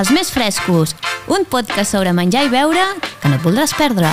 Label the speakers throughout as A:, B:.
A: Els més frescos, un podcast sobre menjar i beure que no et voldràs perdre.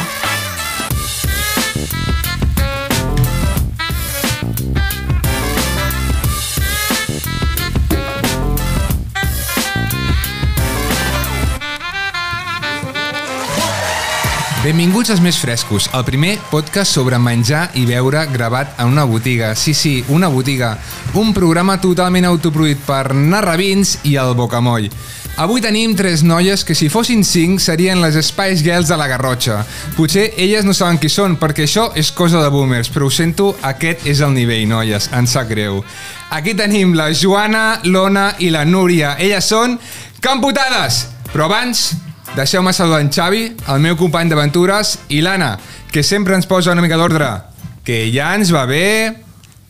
B: Benvinguts als Més Frescos, el primer podcast sobre menjar i beure gravat en una botiga. Sí, sí, una botiga. Un programa totalment autoproduït per Narrabins i el Bocamoll. Avui tenim tres noies que si fossin cinc serien les Spice Girls de la Garrotxa. Potser elles no saben qui són, perquè això és cosa de boomers, però ho sento, aquest és el nivell, noies, em sap greu. Aquí tenim la Joana, l'Ona i la Núria. Elles són Camputades! Però abans, Deixeu-me saludar en Xavi, el meu company d'aventures, i l'Anna, que sempre ens posa una mica d'ordre. Que ja ens va bé...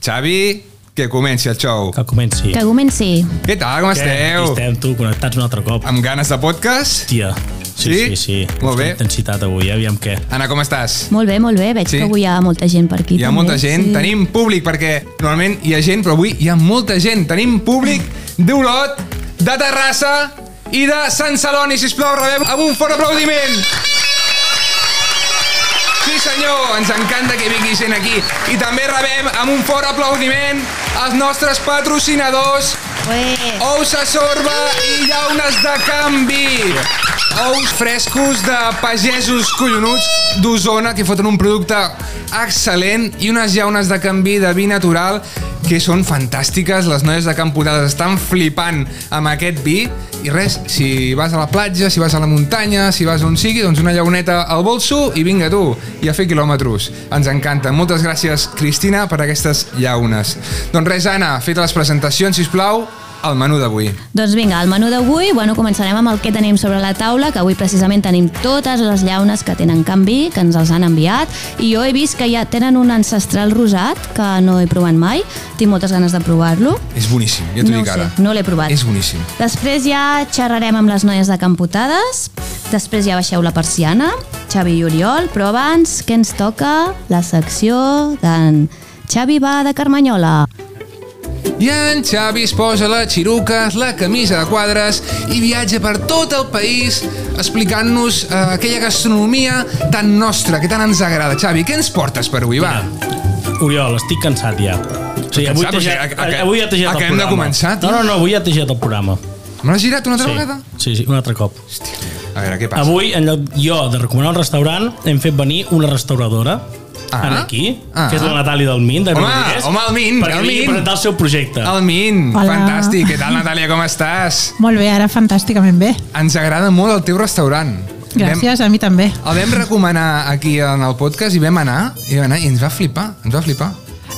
B: Xavi, que comenci el xou.
C: Que comenci.
A: Que comenci.
B: Què tal, com esteu?
C: Aquí estem, tu, connectats un altre cop.
B: Amb ganes de podcast?
C: Hòstia. Sí,
B: Sí?
C: sí, sí.
B: Molt bé.
C: Quina intensitat avui, eh? aviam què.
B: Anna, com estàs?
A: Molt bé, molt bé. Veig
B: Sí.
A: que avui hi ha molta gent per aquí.
B: Hi ha
A: també.
B: molta gent,
A: Sí.
B: tenim públic, perquè normalment hi ha gent, però avui hi ha molta gent. Tenim públic d'Olot, de Terrassa i de Sant Celoni, sisplau, rebem amb un fort aplaudiment. Sí senyor, ens encanta que vingui gent aquí. I també rebem amb un fort aplaudiment els nostres patrocinadors
A: Ué.
B: Ous a sorba i llaunes de canvi. Ous frescos de pagesos collonuts d'Osona que foten un producte excel·lent i unes llaunes de canvi de vi natural que són fantàstiques. Les noies de Campodades estan flipant amb aquest vi. I res, si vas a la platja, si vas a la muntanya, si vas on sigui, doncs una llauneta al bolso i vinga tu, i a fer quilòmetres. Ens encanta. Moltes gràcies, Cristina, per aquestes llaunes. Doncs res, Anna, fet les presentacions, si plau, el menú d'avui.
A: Doncs vinga, el menú d'avui, bueno, començarem amb el que tenim sobre la taula, que avui precisament tenim totes les llaunes que tenen canvi, que ens els han enviat, i jo he vist que ja tenen un ancestral rosat, que no he provat mai, tinc moltes ganes de provar-lo.
B: És boníssim, ja t'ho
A: no ho
B: dic
A: sé,
B: ara.
A: no l'he provat.
B: És boníssim.
A: Després ja xerrarem amb les noies de Camputades, després ja baixeu la persiana, Xavi i Oriol, però abans que ens toca la secció d'en Xavi va de Carmanyola.
B: I en Xavi es posa les xiruques, la camisa de quadres i viatja per tot el país explicant-nos eh, aquella gastronomia tan nostra, que tant ens agrada. Xavi, què ens portes per avui, va?
C: Oriol, estic cansat ja. O sigui, avui,
B: Ah. Cansat,
C: t'he
B: o sigui,
C: ja-
B: a- a que-
C: avui ja t'he
B: a
C: girat el
B: que
C: programa.
B: hem de començar, tio?
C: No, no, no, avui ja t'he girat el programa.
B: Me l'has girat una altra
C: Sí,
B: vegada?
C: sí, sí, un altre cop.
B: Hòstia, a veure, què passa?
C: Avui, en lloc jo de recomanar un restaurant, hem fet venir una restauradora
B: Ah.
C: en aquí,
B: Ah.
C: que és la Natàlia del Min, de
B: Home,
C: Granollers,
B: home, el Min,
C: perquè
B: el
C: vingui a
B: Min.
C: presentar el seu projecte.
B: El Min,
D: Hola.
B: fantàstic. Què tal, Natàlia, com estàs?
D: Molt bé, ara fantàsticament bé.
B: Ens agrada molt el teu restaurant.
D: Gràcies, a mi també.
B: Vam, el vam recomanar aquí en el podcast i vam anar, i, vam anar, i ens va flipar, ens va flipar.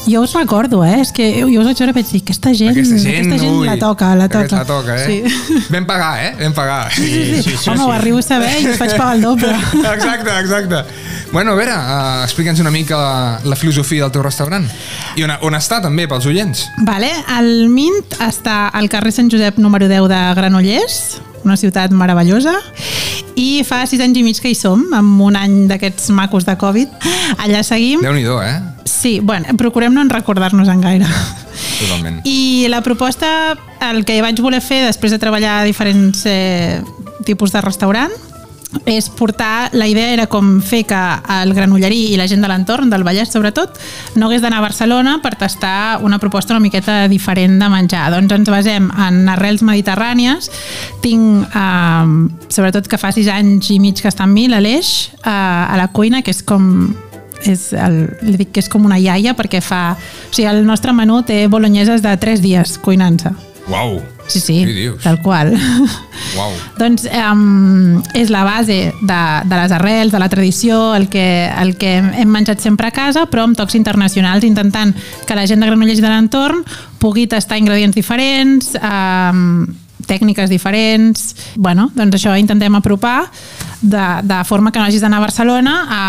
D: Jo us recordo, eh? És que jo us vaig veure i vaig dir, aquesta gent,
B: Aquesta gent,
D: Mm, aquesta gent
B: ui,
D: la toca, la
B: aquesta
D: toca.
B: La toca, eh?
D: Sí.
B: Vam pagar, eh? Vam pagar.
C: Sí, sí, sí, sí,
D: Home, ho
C: sí.
D: arribo a saber i us faig pagar el doble.
B: Exacte, exacte. Bueno, a veure, uh, explica'ns una mica la, la filosofia del teu restaurant. I on, on està, també, pels oients.
D: Vale, el Mint està al carrer Sant Josep número 10 de Granollers, una ciutat meravellosa, i fa sis anys i mig que hi som, amb un any d'aquests macos de Covid. Allà seguim.
B: Déu-n'hi-do, eh?
D: Sí, bueno, procurem no en recordar-nos en gaire.
B: Totalment.
D: I la proposta, el que vaig voler fer després de treballar a diferents eh, tipus de restaurant, és portar, la idea era com fer que el granollerí i la gent de l'entorn, del Vallès sobretot, no hagués d'anar a Barcelona per tastar una proposta una miqueta diferent de menjar. Doncs ens basem en arrels mediterrànies. Tinc, eh, sobretot que fa sis anys i mig que està amb mi, l'Aleix, eh, a la cuina, que és com és el, li dic que és com una iaia perquè fa... O sigui, el nostre menú té bolonyeses de 3 dies cuinant-se.
B: Uau.
D: Sí, sí,
B: Què dius?
D: tal qual.
B: Uau.
D: doncs um, és la base de, de les arrels, de la tradició, el que, el que hem menjat sempre a casa, però amb tocs internacionals, intentant que la gent de Granollers i de l'entorn pugui tastar ingredients diferents, um, tècniques diferents... bueno, doncs això intentem apropar de, de forma que no hagis d'anar a Barcelona a,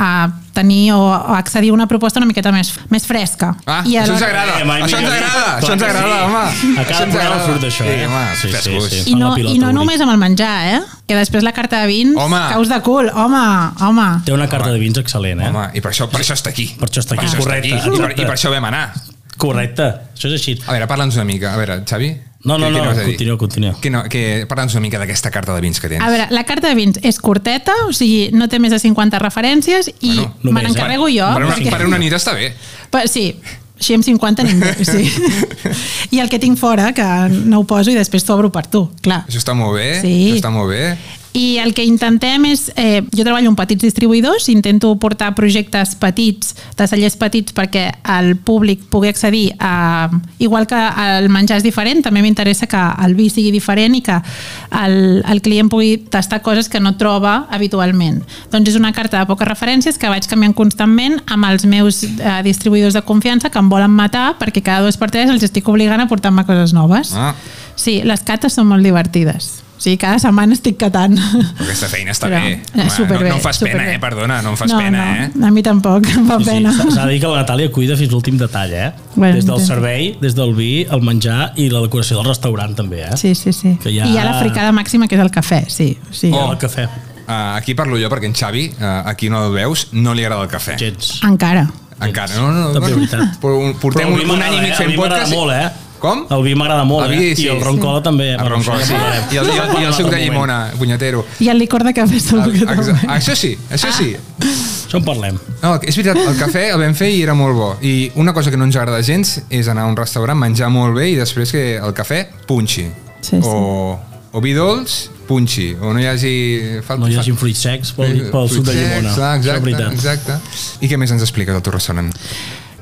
D: a tenir o, o accedir a una proposta una miqueta més, més fresca.
B: Ah, I això ens
D: alhora-
B: agrada.
C: Eh, mai
B: això ens
C: millor.
B: agrada, això
C: Clar
B: ens
C: que
B: agrada,
C: sí.
B: home.
C: A cada
B: Això ens
C: programa
B: agrada.
C: surt això, eh?
B: Sí, home,
C: Sí, sí,
B: frescos.
C: sí.
D: I
C: Fan
D: no,
C: la pilota,
D: I no
C: Uri.
D: només amb el menjar, eh? Que després la carta de vins,
B: Home.
D: caus de cul. Home, home.
C: Té una carta de vins excel·lent, eh?
B: Home, i per això, per això està aquí.
C: Per això està aquí,
B: Per
C: correcte,
B: I, per,
C: exacte.
B: I per això vam anar.
C: Correcte, això és així.
B: A veure, parla'ns una mica. A veure, Xavi,
C: No,
B: Què-
C: no,
B: què
C: no,
B: anaves a dir?
C: continua, continua.
B: Que no, que parla'ns una mica d'aquesta carta de vins que tens.
D: A veure, la carta de vins és corteta, o sigui, no té més de 50 referències i
B: Bueno, eh?
D: bueno,
C: només,
D: me n'encarrego jo.
B: Per una,
D: perquè-
B: per una nit està bé.
D: Però, sí, així amb 50 ningú. Sí. I el que tinc fora, que no ho poso i després t'obro per tu, clar.
B: Això està molt bé,
D: Sí.
B: això està molt bé.
D: I el que intentem és, eh, jo treballo amb petits distribuïdors, intento portar projectes petits, de cellers petits, perquè el públic pugui accedir a... Igual que el menjar és diferent, també m'interessa que el vi sigui diferent i que el, el client pugui tastar coses que no troba habitualment. Doncs és una carta de poques referències que vaig canviant constantment amb els meus eh, distribuïdors de confiança que em volen matar perquè cada dos per tres els estic obligant a portar-me coses noves.
B: Ah.
D: Sí, les cates són molt divertides. O sigui, cada setmana estic catant.
B: Però aquesta feina està
D: Però,
B: bé.
D: eh,
B: Home,
D: superbé,
B: no, no em fas pena,
D: superbé.
B: eh? Perdona, no em fas
D: no,
B: pena,
D: no,
B: eh?
D: A mi tampoc, em fa
C: Sí, sí,
D: pena.
C: s'ha- S'ha de dir que la Natàlia cuida fins l'últim detall, eh?
D: Bueno,
C: des del
D: entenc.
C: servei, des del vi, el menjar i la decoració del restaurant, també, eh?
D: Sí, sí, sí.
C: Que
D: I
C: ja-
D: hi ha la fricada màxima, que és el cafè, sí. sí.
C: I
B: Oh.
C: el cafè.
B: Uh, aquí parlo jo perquè en Xavi, uh, aquí no el veus, no li agrada el cafè.
C: Gens.
D: Encara.
B: Encara. No, no,
C: També
B: bueno,
C: veritat.
B: però un- Portem
C: Però el
B: un,
C: vi
B: un any
C: m'agrada,
B: i mig
C: eh?
B: fent
C: El vi
B: podcast.
C: m'agrada molt, eh?
B: Com?
C: El vi m'agrada molt,
B: El vi,
C: eh?
B: sí.
C: I el roncola també.
B: El roncola, sí.
C: eh.
B: I el, i el, i el suc de llimona, punyatero.
D: I el licor de cafè segur que
B: Exa-
D: també.
B: Ah, Això sí, això sí.
D: Ah.
C: Això en parlem.
B: No, és veritat, el cafè el vam fer i era molt bo. I una cosa que no ens agrada gens és anar a un restaurant, menjar molt bé i després que el cafè punxi.
D: Sí, sí.
B: O, o vi dolç, punxi. O no hi hagi... Falta,
C: No hi hagi fruits secs pel, pel suc de llimona.
B: Exacte,
C: Això és
B: exacte,
C: veritat.
B: exacte. I què més ens expliques del teu restaurant?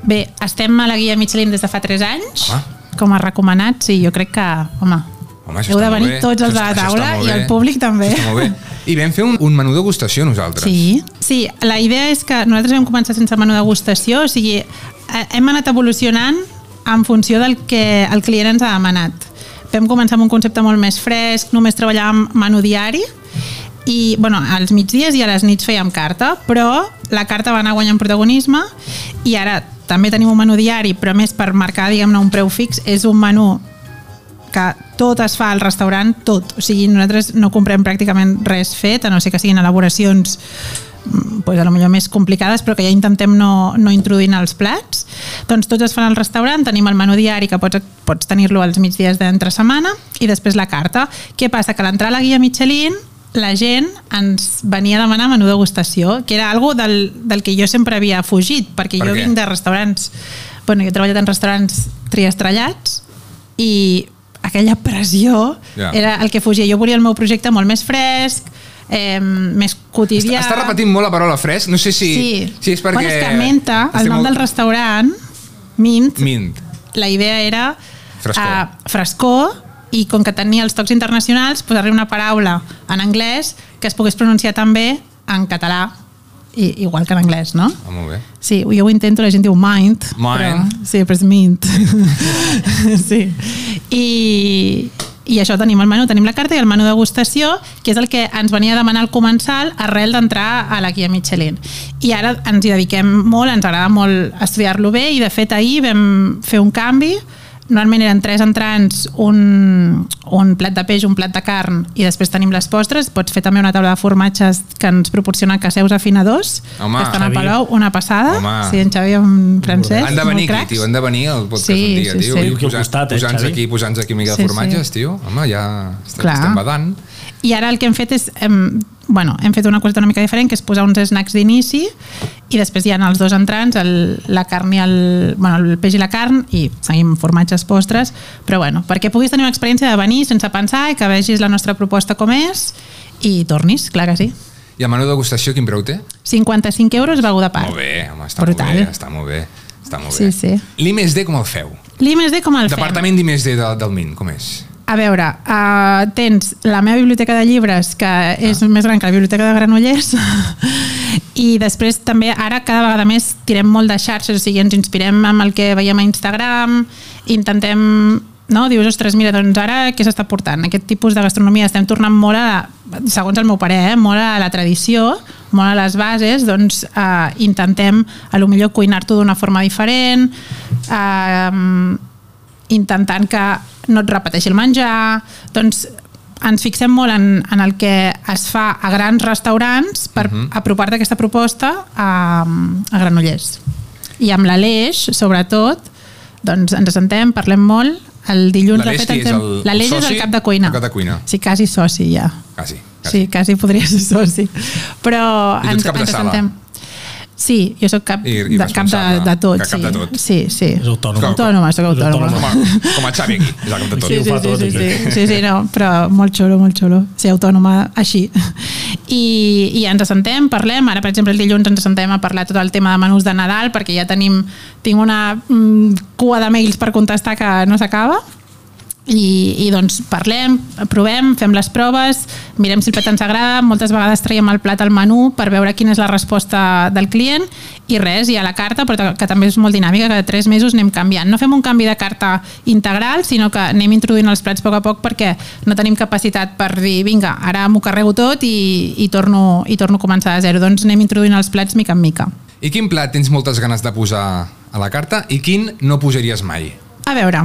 D: Bé, estem a la guia Michelin des de fa 3 anys,
B: Home.
D: com a recomanats, i jo crec que, home,
B: Ah. Home, això
D: heu
B: està
D: de
B: molt
D: venir
B: bé.
D: tots els de la
B: Això està- això
D: taula
B: està molt
D: i
B: bé.
D: el públic també.
B: Això Està molt bé. I vam fer un, un menú degustació nosaltres.
D: Sí. sí, la idea és que nosaltres vam començar sense menú degustació, o sigui, eh, hem anat evolucionant en funció del que el client ens ha demanat. Vam començar amb un concepte molt més fresc, només treballàvem menú diari, i bueno, als migdies i a les nits fèiem carta, però la carta va anar guanyant protagonisme i ara també tenim un menú diari, però més per marcar diguem-ne un preu fix, és un menú que tot es fa al restaurant, tot. O sigui, nosaltres no comprem pràcticament res fet, a no sé que siguin elaboracions mm, pues, a lo millor més complicades, però que ja intentem no, no introduir en els plats. Doncs tots es fan al restaurant, tenim el menú diari que pots, pots tenir-lo als migdies d'entre setmana i després la carta. Què passa? Que a l'entrar a la guia Michelin la gent ens venia a demanar menú degustació, que era algo del, del que jo sempre havia fugit, perquè
B: Per
D: jo
B: què?
D: vinc de restaurants... Bueno, jo he treballat en restaurants triestrellats i aquella pressió
B: Ja.
D: yeah. era el que fugia. Jo volia el meu projecte molt més fresc, eh, més
B: Està,
D: quotidià.
B: està repetint molt la paraula fresc. No sé si,
D: Sí.
B: si és perquè...
D: Bueno, és que Menta, el
B: estem
D: nom
B: molt-
D: del restaurant, Mint,
B: Mint.
D: la idea era
B: Frescor.
D: ah, frescor i com que tenia els tocs internacionals posar-li una paraula en anglès que es pogués pronunciar també en català i, igual que en anglès, no?
B: Ah, molt bé.
D: Sí, jo ho intento, la gent diu mind.
B: Mind.
D: Però, sí, però és mint. sí. I, I això tenim el menú, tenim la carta i el menú degustació, que és el que ens venia a demanar el comensal arrel d'entrar a la guia Michelin. I ara ens hi dediquem molt, ens agrada molt estudiar-lo bé i de fet ahir vam fer un canvi Normalment eren tres entrants, un, un plat de peix, un plat de carn i després tenim les postres. Pots fer també una taula de formatges que ens proporciona Caseus Afinadors,
B: Home.
D: que estan a
C: Xavi.
D: Palau, Oh, una passada.
B: Home.
D: Sí, en Xavi en francès.
B: Han de venir
D: molt
B: aquí,
D: cracs.
B: tio, han de venir al podcast
D: Sí,
B: un dia,
D: sí,
B: tio.
D: sí.
B: I
D: Aquí
C: al costat, eh,
B: posant
C: Xavi?
B: aquí, posant aquí mica
D: Sí,
B: de
D: sí.
B: formatges, tio. Home, ja estem,
D: Clar.
B: estem badant.
D: I ara el que hem fet és... Hem, bueno, hem fet una cosa una mica diferent, que és posar uns snacks d'inici i després hi ha els dos entrants, el, la carn i el, bueno, el peix i la carn i seguim formatges, postres, però bueno, perquè puguis tenir una experiència de venir sense pensar i que vegis la nostra proposta com és i tornis, clar que sí.
B: I el menú de degustació, quin preu té?
D: 55 euros beguda a part.
B: Molt bé, home, està
D: Brutal.
B: molt bé, està molt bé. Està molt
D: Sí,
B: bé.
D: sí.
B: L'IMSD com el feu?
D: L'IMSD com el fem?
B: Departament d'IMSD de, del MIN, com és?
D: A veure, uh, tens la meva biblioteca de llibres, que és més gran que la biblioteca de Granollers, i després també ara cada vegada més tirem molt de xarxes, o sigui, ens inspirem amb el que veiem a Instagram, intentem no? dius, ostres, mira, doncs ara què s'està portant? Aquest tipus de gastronomia estem tornant molt a, segons el meu parer, eh, molt a la tradició, molt a les bases, doncs eh, intentem a lo millor cuinar-t'ho d'una forma diferent, eh, intentant que no et repeteixi el menjar, doncs ens fixem molt en, en el que es fa a grans restaurants per uh
B: Mhm.
D: -huh. apropar-te aquesta proposta a, a Granollers. I amb l'Aleix, sobretot, doncs ens sentem, parlem molt, el dilluns...
B: L'Aleix
D: de fet,
B: qui
D: en
B: és?
D: fem-
B: El
D: L'Aleix és
B: soci
D: el cap de cuina.
B: o cap de cuina?
D: Sí, quasi soci, ja.
B: Quasi. quasi.
D: Sí, quasi podria ser soci. Però
B: I tu ets cap de sala.
D: assentem. Sí, jo sóc cap,
B: I- i
D: de, cap, de,
B: responsable,
D: de tot.
B: que cap
D: sí.
B: de tot.
D: Sí, sí.
C: És autònoma.
D: Autònoma, sóc
C: És
D: autònoma.
B: Com,
C: autònoma.
B: a, com a Xavi aquí, és el cap de tot.
C: Sí,
D: Sí,
C: ho
D: sí,
C: fa
D: sí,
C: tot, eh?
D: sí,
C: aquí.
D: sí, sí, sí, no, però molt xulo, molt xulo, ser autònoma així. I, I ens assentem, parlem, ara per exemple el dilluns ens assentem a parlar tot el tema de menús de Nadal perquè ja tenim, tinc una mm, cua de mails per contestar que no s'acaba i, i doncs parlem, provem, fem les proves, mirem si el plat ens agrada, moltes vegades traiem el plat al menú per veure quina és la resposta del client i res, i a la carta, però que també és molt dinàmica, cada tres mesos anem canviant. No fem un canvi de carta integral, sinó que anem introduint els plats a poc a poc perquè no tenim capacitat per dir, vinga, ara m'ho carrego tot i, i, torno, i torno a començar de zero. Doncs anem introduint els plats mica en mica.
B: I quin plat tens moltes ganes de posar a la carta i quin no posaries mai?
D: A veure,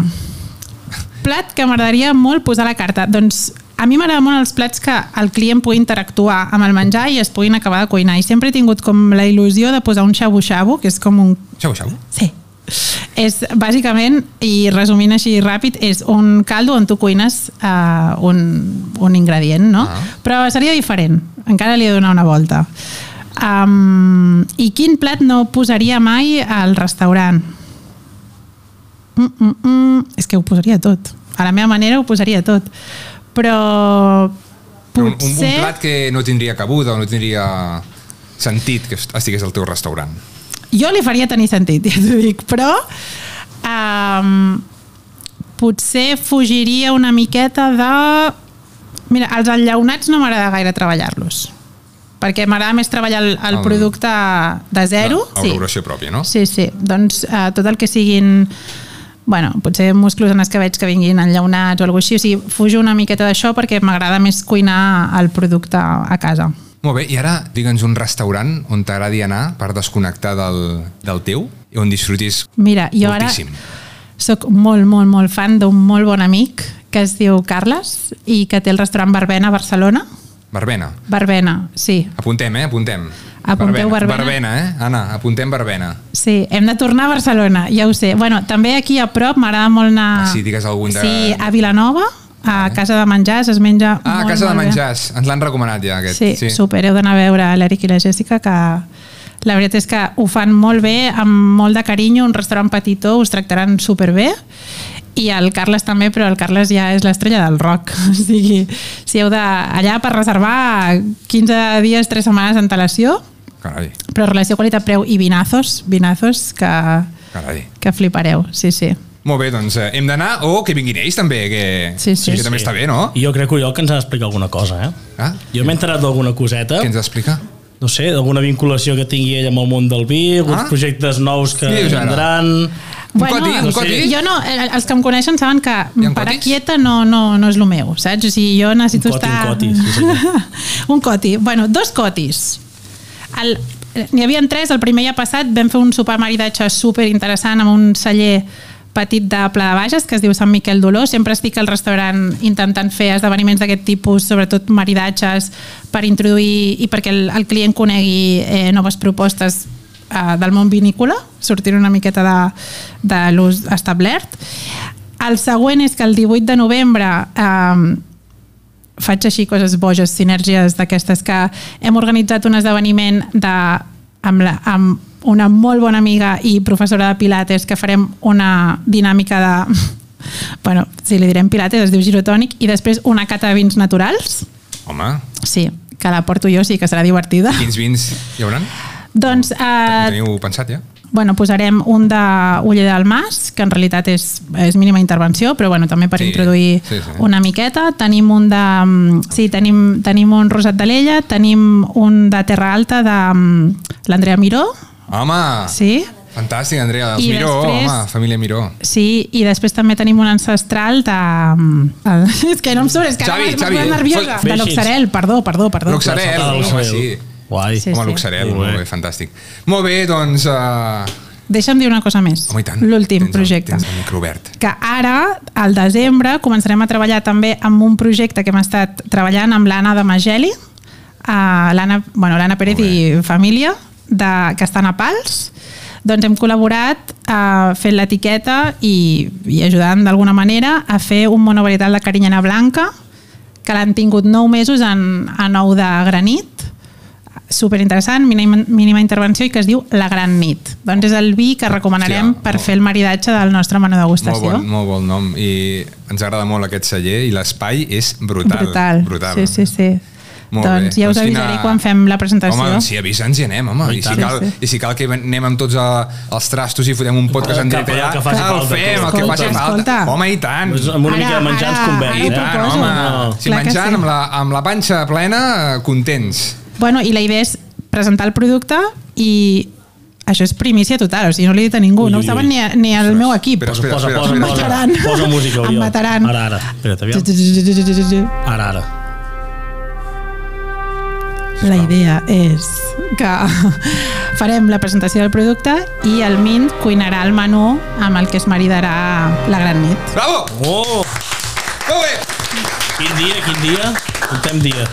D: plat que m'agradaria molt posar a la carta. Doncs a mi m'agraden molt els plats que el client pugui interactuar amb el menjar i es puguin acabar de cuinar. I sempre he tingut com la il·lusió de posar un xabu-xabu, que és com un...
B: Xau, xau.
D: Sí. És, bàsicament, i resumint així ràpid, és un caldo on tu cuines uh, un, un ingredient, no? Ah. Però seria diferent. Encara li he de donar una volta. Um, I quin plat no posaria mai al restaurant? mm, mm, mm, és que ho posaria tot. A la meva manera ho posaria tot. Però
B: Però un, un, un
D: potser...
B: plat que no tindria cabuda o no tindria sentit que estigués al teu restaurant.
D: Jo li faria tenir sentit, ja t'ho dic, però um, potser fugiria una miqueta de... Mira, els enllaunats no m'agrada gaire treballar-los, perquè m'agrada més treballar el,
B: El-
D: el producte de zero.
B: La, la valoració pròpia, no?
D: Sí, sí. Doncs eh, tot el que siguin bueno, potser musclos en escabells que vinguin enllaunats o alguna cosa així. O sigui, fujo una miqueta d'això perquè m'agrada més cuinar el producte a casa.
B: Molt bé, i ara digue'ns un restaurant on t'agradi anar per desconnectar del, del teu i on disfrutis
D: Mira, jo
B: moltíssim.
D: ara sóc molt, molt, molt fan d'un molt bon amic que es diu Carles i que té el restaurant Barbena a Barcelona.
B: Barbena.
D: Barbena, sí.
B: Apuntem, eh? Apuntem.
D: Apunteu Barbena.
B: Barbena, eh? Anna, apuntem Barbena.
D: Sí, hem de tornar a Barcelona, ja ho sé. Bueno, també aquí a prop m'agrada molt anar...
B: Ah, sí, digues algun de-
D: Sí, a Vilanova, a Casa de Menjars, es menja
B: Ah,
D: molt,
B: Casa de
D: molt bé.
B: Menjars. Ens l'han recomanat ja, aquest.
D: Sí, sí, super. Heu d'anar a veure l'Eric i la Jessica, que la veritat és que ho fan molt bé, amb molt de carinyo, un restaurant petitó, us tractaran superbé. I el Carles també, però el Carles ja és l'estrella del rock. O sigui, si heu de... Allà per reservar 15 dies, 3 setmanes d'antelació,
B: Carai,
D: però relació qualitat-preu i vinazos, vinazos que,
B: carai.
D: que flipareu. Sí, sí.
B: Molt bé, doncs eh, hem d'anar o que vinguin ells també, que,
D: Sí, sí.
B: que també està bé, no?
C: I Jo crec que jo que ens ha d'explicar alguna cosa, eh?
B: Ah,
C: Jo m'he enterat d'alguna coseta,
B: què ens explica?
C: no sé, d'alguna vinculació que tingui ell amb el món del vi, alguns
B: Ah?
C: projectes nous que
B: Què dius ara?
C: vendran...
B: Un coti, un
C: no sé.
B: coti?
D: Jo no, eh, els que em coneixen saben que
B: Hi ha
D: parar
B: cotis?
D: quieta no, no, no és el meu, saps? O sigui, jo necessito
C: Un coti,
D: estar...
C: un coti, sí,
D: un coti. Bueno, dos cotis. El... N'hi havia tres, el primer ja passat vam fer un sopar maridatge super interessant amb un celler petit de Pla de Bages que es diu Sant Miquel d'Olor. Sempre estic al restaurant intentant fer esdeveniments d'aquest tipus, sobretot maridatges, per introduir i perquè el, el client conegui eh, noves propostes eh, del món vinícola, sortint una miqueta de, de l'ús establert. El següent és que el 18 de novembre eh, faig així coses boges, sinergies d'aquestes que hem organitzat un esdeveniment de, amb, la, amb una molt bona amiga i professora de pilates que farem una dinàmica de bueno, si li direm pilates es diu girotònic i després una cata de vins naturals
B: Home,
D: sí, que la porto jo, sí que serà divertida
B: quins vins hi hauran?
D: doncs
B: Ho
D: eh,
B: teniu pensat, ja?
D: bueno, posarem un de Uller del Mas, que en realitat és, és mínima intervenció, però bueno, també per
B: Sí,
D: sí, introduir
B: sí,
D: sí,
B: sí.
D: sí. una miqueta. Tenim un de... mm, Sí, tenim, tenim un Rosat d'Alella, tenim un de Terra Alta de mm, l'Andrea Miró,
B: Home!
D: sí,
B: Fantàstic, Andrea. Els
D: I
B: Miró,
D: després-
B: home, família Miró.
D: sí, i després també tenim un ancestral de... mm, el- és que no em surt, és que
B: Xavi,
D: ara m'has- m'has
B: Xavi,
D: posat nerviosa.
C: fol-
D: De l'Oxarel, perdó, perdó, perdó.
B: L'Oxarel. Sarel,
C: Satada del
B: home,
C: Sarel.
B: sí.
C: Guai.
B: Sí,
D: Sí,
B: home,
D: sí.
B: l'Oxarel,
C: Molt bé.
B: molt bé, fantàstic. Molt bé, doncs... Uh...
D: Deixa'm dir una cosa més.
B: Home, i tant. Tens
D: L'últim
B: el-
D: projecte.
B: Tens el micro obert.
D: que ara, al desembre, començarem a treballar també amb un projecte que hem estat treballant amb l'Anna de Mageli, eh, l'Anna bueno, l'Anna Pérez
B: Molt
D: i família, de, que estan a Pals, Doncs hem col·laborat eh, fent l'etiqueta i, i ajudant d'alguna manera a fer un monovarietal de carinyana blanca que l'han tingut 9 mesos en, en ou de granit superinteressant, mínima, mínima intervenció i que es diu La Gran Nit. Doncs és el vi que recomanarem
B: Hòstia,
D: Hòstia, per
B: molt.
D: fer el maridatge del nostre menú
B: Molt
D: degustació.
B: bon, molt bon nom. I ens agrada molt aquest celler i l'espai és brutal.
D: Brutal.
B: brutal.
D: Sí, sí, sí.
B: Molt
D: doncs
B: bé.
D: ja us
B: quina-
D: avisaré quan fem la presentació.
B: Home, doncs sí, avisa'ns i anem, home. I,
C: I
B: si
C: tant.
B: cal,
D: Sí, sí.
B: I si cal que anem amb tots eh, els trastos i fotem un podcast en
C: El que-
B: directe allà,
C: el que faci
B: ah, el
C: falta,
B: fem, el
D: escolta,
B: que faci falta.
D: escolta.
B: Home, i tant.
C: Doncs amb una mica
D: Ara,
C: de menjar ens eh?
D: ara,
C: convé.
D: ara
B: I
D: ho
B: tant,
D: proposo.
B: home.
D: No.
B: Si
D: Clar que
B: menjant
D: sí.
B: amb la, amb la panxa plena, eh, contents.
D: Bueno, i la idea és presentar el producte i això és primícia total, o sigui, no l'he dit a ningú,
C: Ui,
D: no ho
C: ui,
D: saben ni, a- ni el meu equip.
B: Espera,
C: Posa,
B: espera,
C: posa,
B: espera,
C: posa,
B: espera.
C: posa,
D: Em mataran.
C: posa música, Oriol.
D: Em mataran.
C: Ara, ara. Espera't, aviam. Ara, ara.
D: La idea és que farem la presentació del producte i el Mint cuinarà el menú amb el que es maridarà la gran nit.
B: Bravo!
C: Oh,
B: Molt bé!
C: quin dia, quin dia. Comptem dia.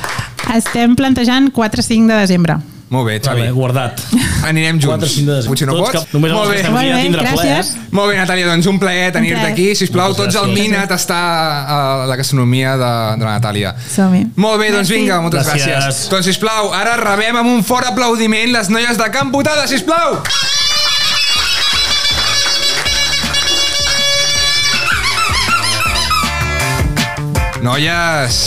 D: Estem plantejant 4-5 de desembre.
B: Molt bé, Xavi.
C: Vale, guardat.
B: Anirem
C: 4
B: junts.
C: 5 de desembre.
B: Potser no
C: Tots
B: pots?
C: cap- només els
B: Molt
C: que
B: bé.
C: estem aquí
D: Molt
C: ja
D: bé,
C: tindrà
D: gràcies.
C: ple. eh?
B: Molt bé, Natàlia, doncs un plaer tenir-te
D: plaer.
B: aquí. Sisplau,
C: Moltes
B: tots al
C: gràcies.
B: Mina està a la gastronomia de, de la Natàlia.
D: Som-hi.
B: Molt bé, doncs
D: Merci.
B: vinga, moltes gràcies.
C: Gràcies.
B: gràcies. Doncs, sisplau, ara rebem amb un fort aplaudiment les noies de Can Putada, sisplau! Noies,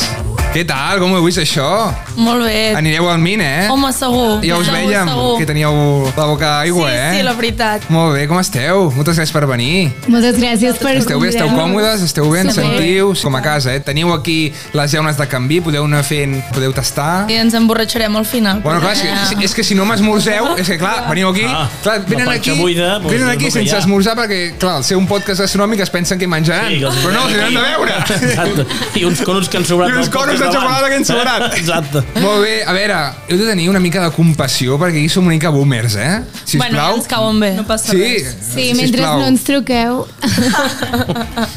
B: què tal? Com ho heu vist, això?
E: Molt bé.
B: Anireu al Min, eh?
E: Home, segur.
B: ja us
E: Segur,
B: vèiem,
E: segur.
B: que teníeu la boca aigua,
E: sí,
B: eh?
E: Sí, la veritat.
B: Molt bé, com esteu? Moltes gràcies per venir.
F: Moltes gràcies per
B: Esteu bé, esteu
F: convidar-nos.
B: còmodes, esteu ben,
F: Superbé.
B: sentiu com a casa, eh? Teniu aquí les llaunes de canvi, podeu anar fent, podeu tastar...
E: I ens emborratxarem al final.
B: Bueno, clar, és que,
E: Ah.
B: és- és que si no m'esmorzeu, és que clar, veniu aquí,
C: Ah,
B: clar, venen
C: la
B: aquí,
C: panxa buida, doncs
B: venen
C: és
B: aquí
C: el que hi
B: sense
C: ha.
B: esmorzar perquè, clar, al ser un podcast gastronòmic es pensen que menjaran,
C: Sí, que els
B: però no, els aniran de veure.
C: Exacte. I uns conos que han sobrat.
B: I uns
C: del
B: conos
C: podcast
B: de xocolata que han sobrat.
C: d'abans. Exacte.
B: Molt bé, a veure, heu de tenir una mica de compassió perquè aquí som una mica boomers, eh? Sisplau.
E: Bueno, ens cauen bé. No passa
B: Sí,
E: res.
F: Sí, mentre
B: sisplau.
F: no ens truqueu.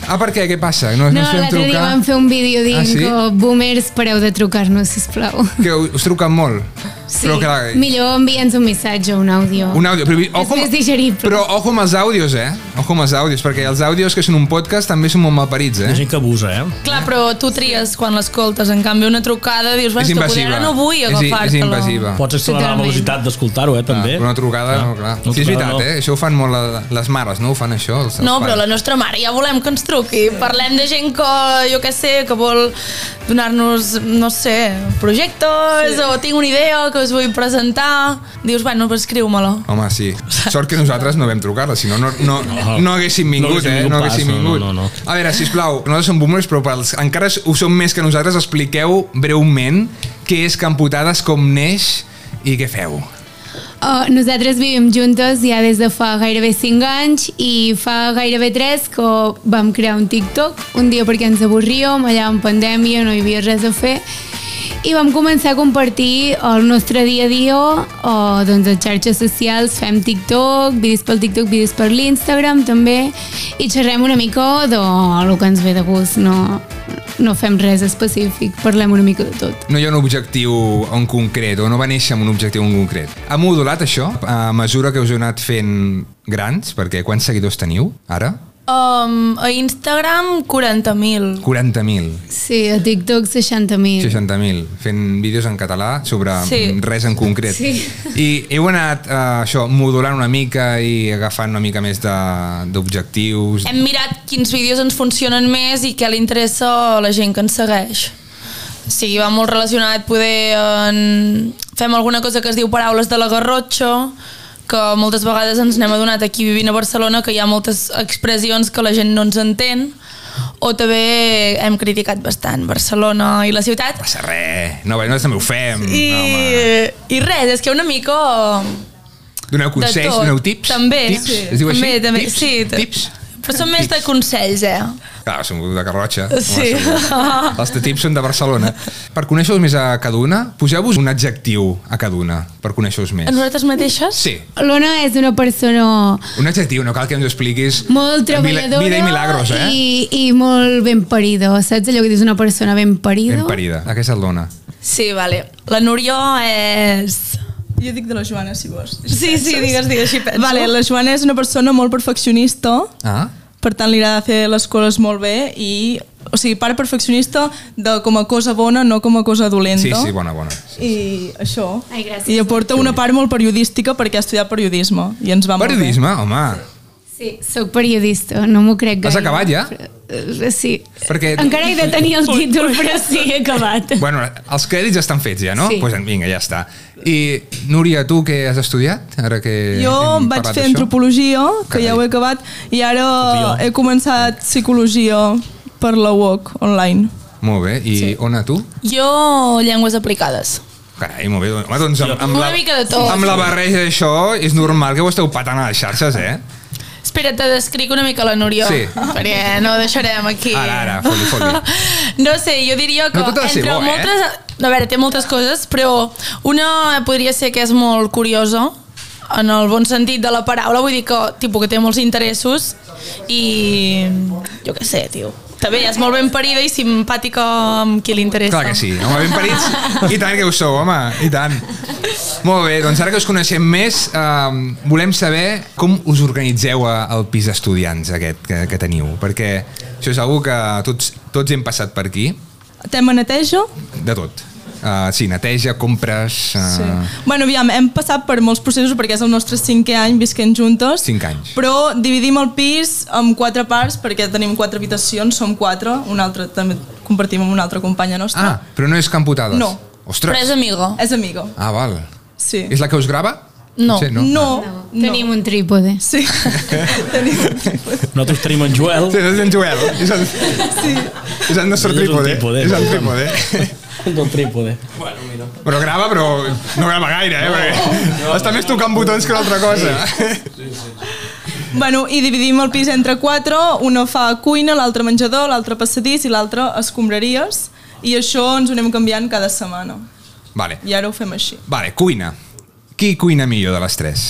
B: Ah, per què? Què passa? No, no,
F: No,
B: us podem
F: l'altre dia
B: trucar?
F: vam fer un vídeo
B: Ah,
F: dient
B: sí?
F: que boomers pareu de trucar-nos, sisplau.
B: Que us us truquen molt.
F: Sí,
B: Però clar,
F: millor envia'ns un missatge o un àudio.
B: un àudio. Però,
F: És més digerible.
B: però ojo amb els àudios, eh? Ojo amb els àudios, perquè els àudios que són un podcast també són molt malparits,
C: Hi ha
B: eh?
C: gent que abusa, eh?
E: Clar, però tu tries quan l'escoltes. En canvi, una trucada dius,
B: És
E: "Vas, tu, poder
B: invasiva.
E: ara no vull
B: És-
E: agafar-te-la.
B: És invasiva.
C: Pots accelerar la
F: Totalment.
C: velocitat d'escoltar-ho, eh, també.
B: Però una trucada, no, clar. Sí, és veritat,
C: no.
B: eh? Això ho fan molt la- les mares, no? Ho fan això, els, els
E: No, però la
B: pares.
E: nostra mare ja volem que ens truqui. Parlem de gent que, jo què sé, que vol donar-nos, no sé, projectes, sí. o tinc una idea que us vull presentar. Dius, bueno, pues escriu-me-la.
B: Home, sí. Sort que nosaltres no vam trucar-la, si no, no, no, no haguéssim vingut,
C: haguéssim
B: eh?
C: vingut
B: No
C: pas,
B: haguéssim
C: no,
B: vingut.
C: no, no,
B: A veure, sisplau, nosaltres som boomers, però pels, encara ho som més que nosaltres. Expliqueu breument què és Camputades, com neix i què feu.
F: Oh, nosaltres vivim juntes ja des de fa gairebé 5 anys i fa gairebé 3 que vam crear un TikTok un dia perquè ens avorríem, allà en pandèmia no hi havia res a fer i vam començar a compartir el nostre dia a dia o doncs, a xarxes socials, fem TikTok, vídeos pel TikTok, vídeos per l'Instagram també i xerrem una mica de lo que ens ve de gust, no, no fem res específic, parlem una mica de tot.
B: No hi ha un objectiu en concret, o no va néixer amb un objectiu en concret. Ha modulat això a mesura que us heu anat fent grans? Perquè quants seguidors teniu ara?
E: Um, a Instagram, 40.000.
B: 40.000,
F: Sí, a TikTok 60.000.
B: 60.000, fent vídeos en català sobre
E: Sí.
B: res en concret.
F: Sí.
B: I heu anat eh, això modulant una mica i agafant una mica més de- d'objectius.
E: Hem mirat quins vídeos ens funcionen més i què li interessa a la gent que ens segueix. O sigui, va molt relacionat poder... En... Fem alguna cosa que es diu Paraules de la Garrotxa, que moltes vegades ens n'hem adonat aquí vivint a Barcelona que hi ha moltes expressions que la gent no ens entén o també hem criticat bastant Barcelona i la ciutat
B: Passa res, no, bé, nosaltres també ho fem.
E: i,
B: No, home.
E: i res, és que una mica
B: doneu consells,
E: tot.
B: doneu tips.
E: També,
B: Tips,
E: sí.
B: es diu així?
E: També, també,
B: tips?
E: sí, tot.
B: Tips?
E: Però són més de consells, eh?
B: Clar, som de Garrotxa.
E: Sí.
B: Home, som- Els de tips són de Barcelona. Per conèixer-vos més a cada una, poseu-vos un adjectiu a cada una per conèixer-vos
E: A
B: més.
E: nosaltres mateixes?
B: Sí,
F: L'Ona és una persona
B: un adjectiu, no cal que ens ho expliquis. Mila-
F: molt treballadora
B: Vida i milagros, eh?
F: i, i molt ben parida. Saps allò que dius una persona ben parida?
B: Ben parida, aquesta és dona.
E: Sí, vale. La Núria és
G: Jo dic de la Joana, si vols.
E: Sí, sí, digues, digues, així penso.
G: Vale, la Joana és una persona molt perfeccionista,
B: Ah,
G: per tant li agrada fer les coses molt bé i, o sigui, part perfeccionista de com a cosa bona, no com a cosa dolenta.
B: sí, sí, bona, bona.
G: I això.
F: Ai, gràcies.
G: I aporta una part molt periodística perquè ha estudiat periodisme i ens va
B: Periodisme, home.
F: Sí, sóc periodista, no m'ho crec gaire.
B: Has acabat ja?
F: Eh, Sí.
B: Perquè-
F: Encara he de tenir el títol, però sí, he acabat.
B: Bueno, els crèdits estan fets ja, no?
F: Sí.
B: pues, vinga, ja està. I Núria, tu què has estudiat? Ara que
G: molt bé. Jo
B: hem
G: vaig
B: parlat
G: fer
B: d'això?
G: antropologia, que
B: Carai.
G: ja ho he acabat, i ara
C: Tot i jo.
G: he començat psicologia per la UOC online.
B: Molt bé, i sí. Ona, tu?
E: Jo, llengües aplicades.
B: Carai, molt bé. Home, doncs amb, amb
E: Una
B: la,
E: mica de tot.
B: Amb la barreja d'això és normal que ho esteu patant a les xarxes, eh?
E: Espera, te descric una mica la Núria,
B: Sí.
E: perquè no ho deixarem aquí.
B: Ara, ara, foli, foli.
E: No sé, jo diria que
B: No tot ha de ser
E: entre
B: bo, eh?
E: moltes... A veure, té moltes coses, però una podria ser que és molt curiosa, en el bon sentit de la paraula, vull dir que, tipus, que té molts interessos i... jo què sé, tio. També és molt ben parida i simpàtica amb qui li interessa.
B: Clar que sí, home, ben parits. I tant que ho sou, home, i tant. Molt bé, doncs ara que us coneixem més, eh, volem saber com us organitzeu a- al pis d'estudiants aquest que, que teniu, perquè això és algo que tots, tots hem passat per aquí,
G: Tema neteja?
B: de tot. Uh, sí, neteja, compres... Uh,
G: Sí.
B: sí.
G: Bueno, aviam, hem passat per molts processos perquè és el nostre cinquè any visquent juntes.
B: Cinc anys.
G: Però dividim el pis en quatre parts perquè tenim quatre habitacions, som quatre, un altre també compartim amb una altra companya nostra.
B: Ah, però no és Camputades?
G: No.
B: Ostres.
E: Però és amiga.
G: És amiga.
B: Ah, val.
G: Sí.
B: És Ah. la que us grava?
E: No.
B: Potser
G: No. no. no.
F: Tenim un trípode.
G: Sí. tenim un trípode.
C: Nosaltres tenim en Joel,
B: Sí, és en Joel. És el,
G: Sí.
B: és el nostre
C: És un
B: trípode.
C: trípode,
B: És el
C: no?
B: trípode.
C: del trípode.
B: Però grava, però no grava gaire, eh? perquè Està més tocant botons que una altra cosa.
G: Bueno, i dividim el pis entre quatre, una fa cuina, l'altra menjador, l'altra passadís i l'altra escombraries. I això ens ho anem canviant cada setmana.
B: Vale.
G: I ara ho fem així.
B: Vale, cuina. Qui cuina millor de les tres?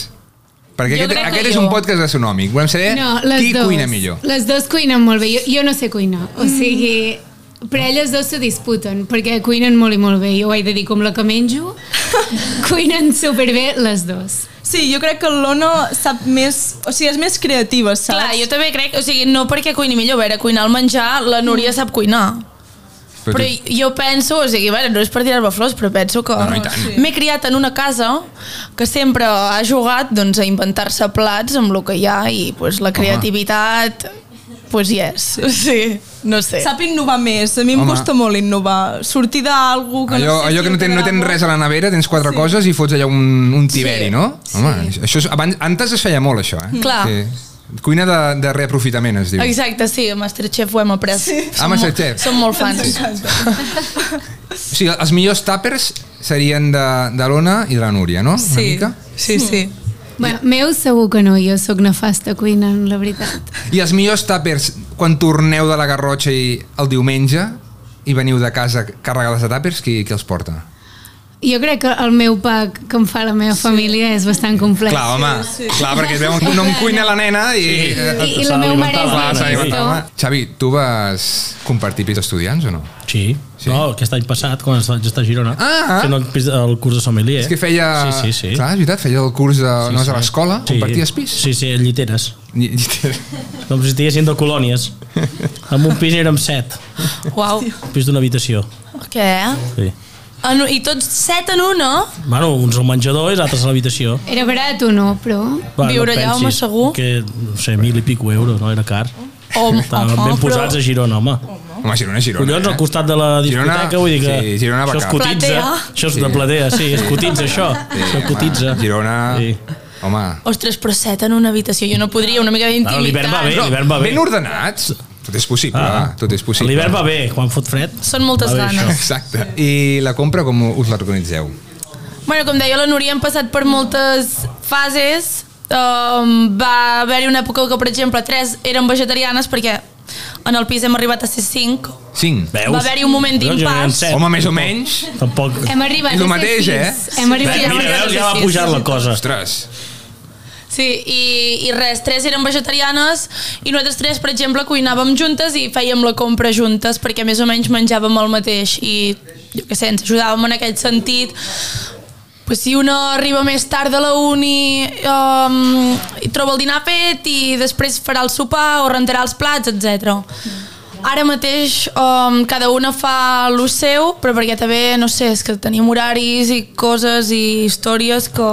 B: Perquè
E: Jo
B: aquest,
E: crec que
B: aquest és
E: jo.
B: un podcast gastronòmic. Volem saber
F: No, les
B: Eh, qui
F: dos.
B: cuina millor.
F: Les dos cuinen molt bé. Jo, jo no sé cuinar. O sigui, però elles dos se disputen, perquè cuinen molt i molt bé. Jo ho he de dir com la que menjo. cuinen superbé les dos.
G: Sí, jo crec que l'Ona sap més... O sigui, és més creativa, saps?
E: Clar, jo també crec, o sigui, no perquè cuini millor, a veure, cuinar el menjar, la
G: Mm.
E: Núria sap cuinar.
B: Però
E: Però
B: tu-
E: jo penso, o sigui, bueno, no és per tirar-me flors, però penso que
B: No, no, i tant. Sí.
E: m'he criat en una casa que sempre ha jugat doncs, a inventar-se plats amb el que hi ha i pues, la creativitat pues hi és. Sí, no sé.
G: Sap innovar més. A mi em
B: Home.
G: costa molt innovar. Sortir d'algú que
B: Allò,
G: no sé
B: allò que no tens no ten res a la nevera, tens quatre sí. coses i fots allà un, un tiberi, sí. no? Home, sí. això és, abans, antes es feia molt, això, eh?
E: Clar.
B: Sí. Cuina de, de reaprofitament, es diu.
E: Exacte, sí, a Masterchef ho hem après. Sí.
B: Ah, Masterchef.
E: Som molt fans.
B: O sigui, els millors tàpers serien de, de l'Ona i de la Núria, no? Una
G: Sí,
B: mica.
G: sí, sí.
E: Mm.
F: Bueno, meu segur que no, jo sóc nefasta cuinant, la veritat.
B: I els millors tàpers, quan torneu de la Garrotxa i el diumenge i veniu de casa carregades de tàpers, qui, qui els porta?
F: Jo crec que el meu pack que em fa la meva família és bastant complex.
B: clar, home, sí, sí. clar, perquè veu que no em cuina la nena i... Sí. Eh,
F: I, i
C: S'ha
F: la meva mare
C: d'alimentar la
F: és
B: clar, s'ha
C: nena, sí.
B: d'alimentar,
F: director.
B: home. Xavi, tu vas compartir pis d'estudiants o no?
C: Sí.
B: Sí.
C: sí. No, aquest any passat, quan vaig estar a Girona,
B: Ah.
C: fent el, pis- el curs de sommelier.
B: És que feia...
C: Sí, sí, sí.
B: Clar, és veritat, feia el curs de... Sí, no és a l'escola, sí. comparties pis?
C: Sí, sí, a lliteres.
B: I- i-
C: Com si estiguessin de colònies. En un pis érem set,
E: Uau,
C: pis d'una habitació.
E: què?
C: Sí.
E: En, I tots set en un, no?
C: Bueno, uns al menjador i altres a l'habitació.
F: Era barat o no, però...
C: Va,
E: Viure allà,
C: pensis
E: home, segur.
C: Que, no sé, mil i pico euros, no? Era car.
F: Ah,
E: O,
C: Estaven ben
F: oh,
C: posats a Girona, home.
B: Home, Girona, Girona.
C: Collons,
B: eh?
C: al costat de la
B: Girona-
C: discoteca, vull dir que
B: sí, Girona
C: això es
B: Bacà.
C: cotitza.
E: Platea.
C: Això és de platea, sí, es cotitza això.
B: Sí,
C: això
B: home,
C: cotitza.
B: Girona... Sí. Home...
E: Ostres, però set en una habitació, jo no podria, una mica
C: Ara
E: d'intimitat.
C: l'hivern va bé, l'hivern va bé.
B: Ben ordenats. Tot és possible, ah.
C: Ah.
B: tot és possible.
C: L'hivern va bé, quan fot fred.
E: Són moltes
C: Va bé,
E: ganes.
C: això.
B: Exacte. I la compra com us l'organitzeu?
E: Bueno, com deia la Núria, hem passat per moltes fases. Um, va haver-hi una època que, per exemple, tres eren vegetarianes perquè en el pis hem arribat a ser cinc.
B: Cinc.
C: Veus?
E: Va haver-hi un moment
C: Collons,
E: d'impàs.
C: jo n'eren set.
B: Home, més o menys.
C: Tampoc...
F: Hem arribat
B: És el
F: a ser
B: mateix,
F: sis.
B: eh?
F: Hem arribat
E: Sí,
F: a
C: Mira,
F: ser
C: veus,
E: sí,
C: ja va
E: sí,
C: pujar
E: sí,
C: la
E: sí.
C: cosa.
B: Ostres.
E: Sí, i, i res, tres eren vegetarianes i nosaltres tres, per exemple, cuinàvem juntes i fèiem la compra juntes perquè més o menys menjàvem el mateix i jo què sé, ens ajudàvem en aquest sentit pues si una arriba més tard de la uni um, i troba el dinar fet i després farà el sopar o rentarà els plats, etc. Ara mateix um, cada una fa el seu, però perquè també, no sé, és que tenim horaris i coses i històries que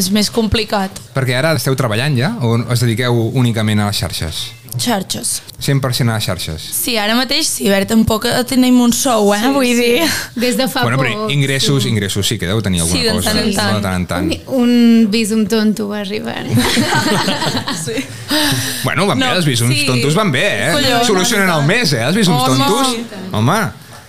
E: és més complicat.
B: Perquè ara esteu treballant ja o us dediqueu únicament a les xarxes?
E: Xarxes.
B: 100% a les xarxes.
E: Sí, ara mateix sí, a veure, tampoc tenim un sou, eh? Sí, Vull sí. dir...
F: Des de fa
B: bueno, però
F: poc.
B: ingressos, sí. ingressos sí que deu tenir alguna
E: Sí, de
B: cosa.
E: tant en tant.
B: De tant en tant.
F: Un, un visum tonto va arribar.
B: Bueno, van no, bé,
E: No,
B: els bisons sí.
E: sí.
B: tontos van bé, eh?
E: Collons.
B: Solucionen el mes, eh, els bisons
E: Home.
B: tontos. Home,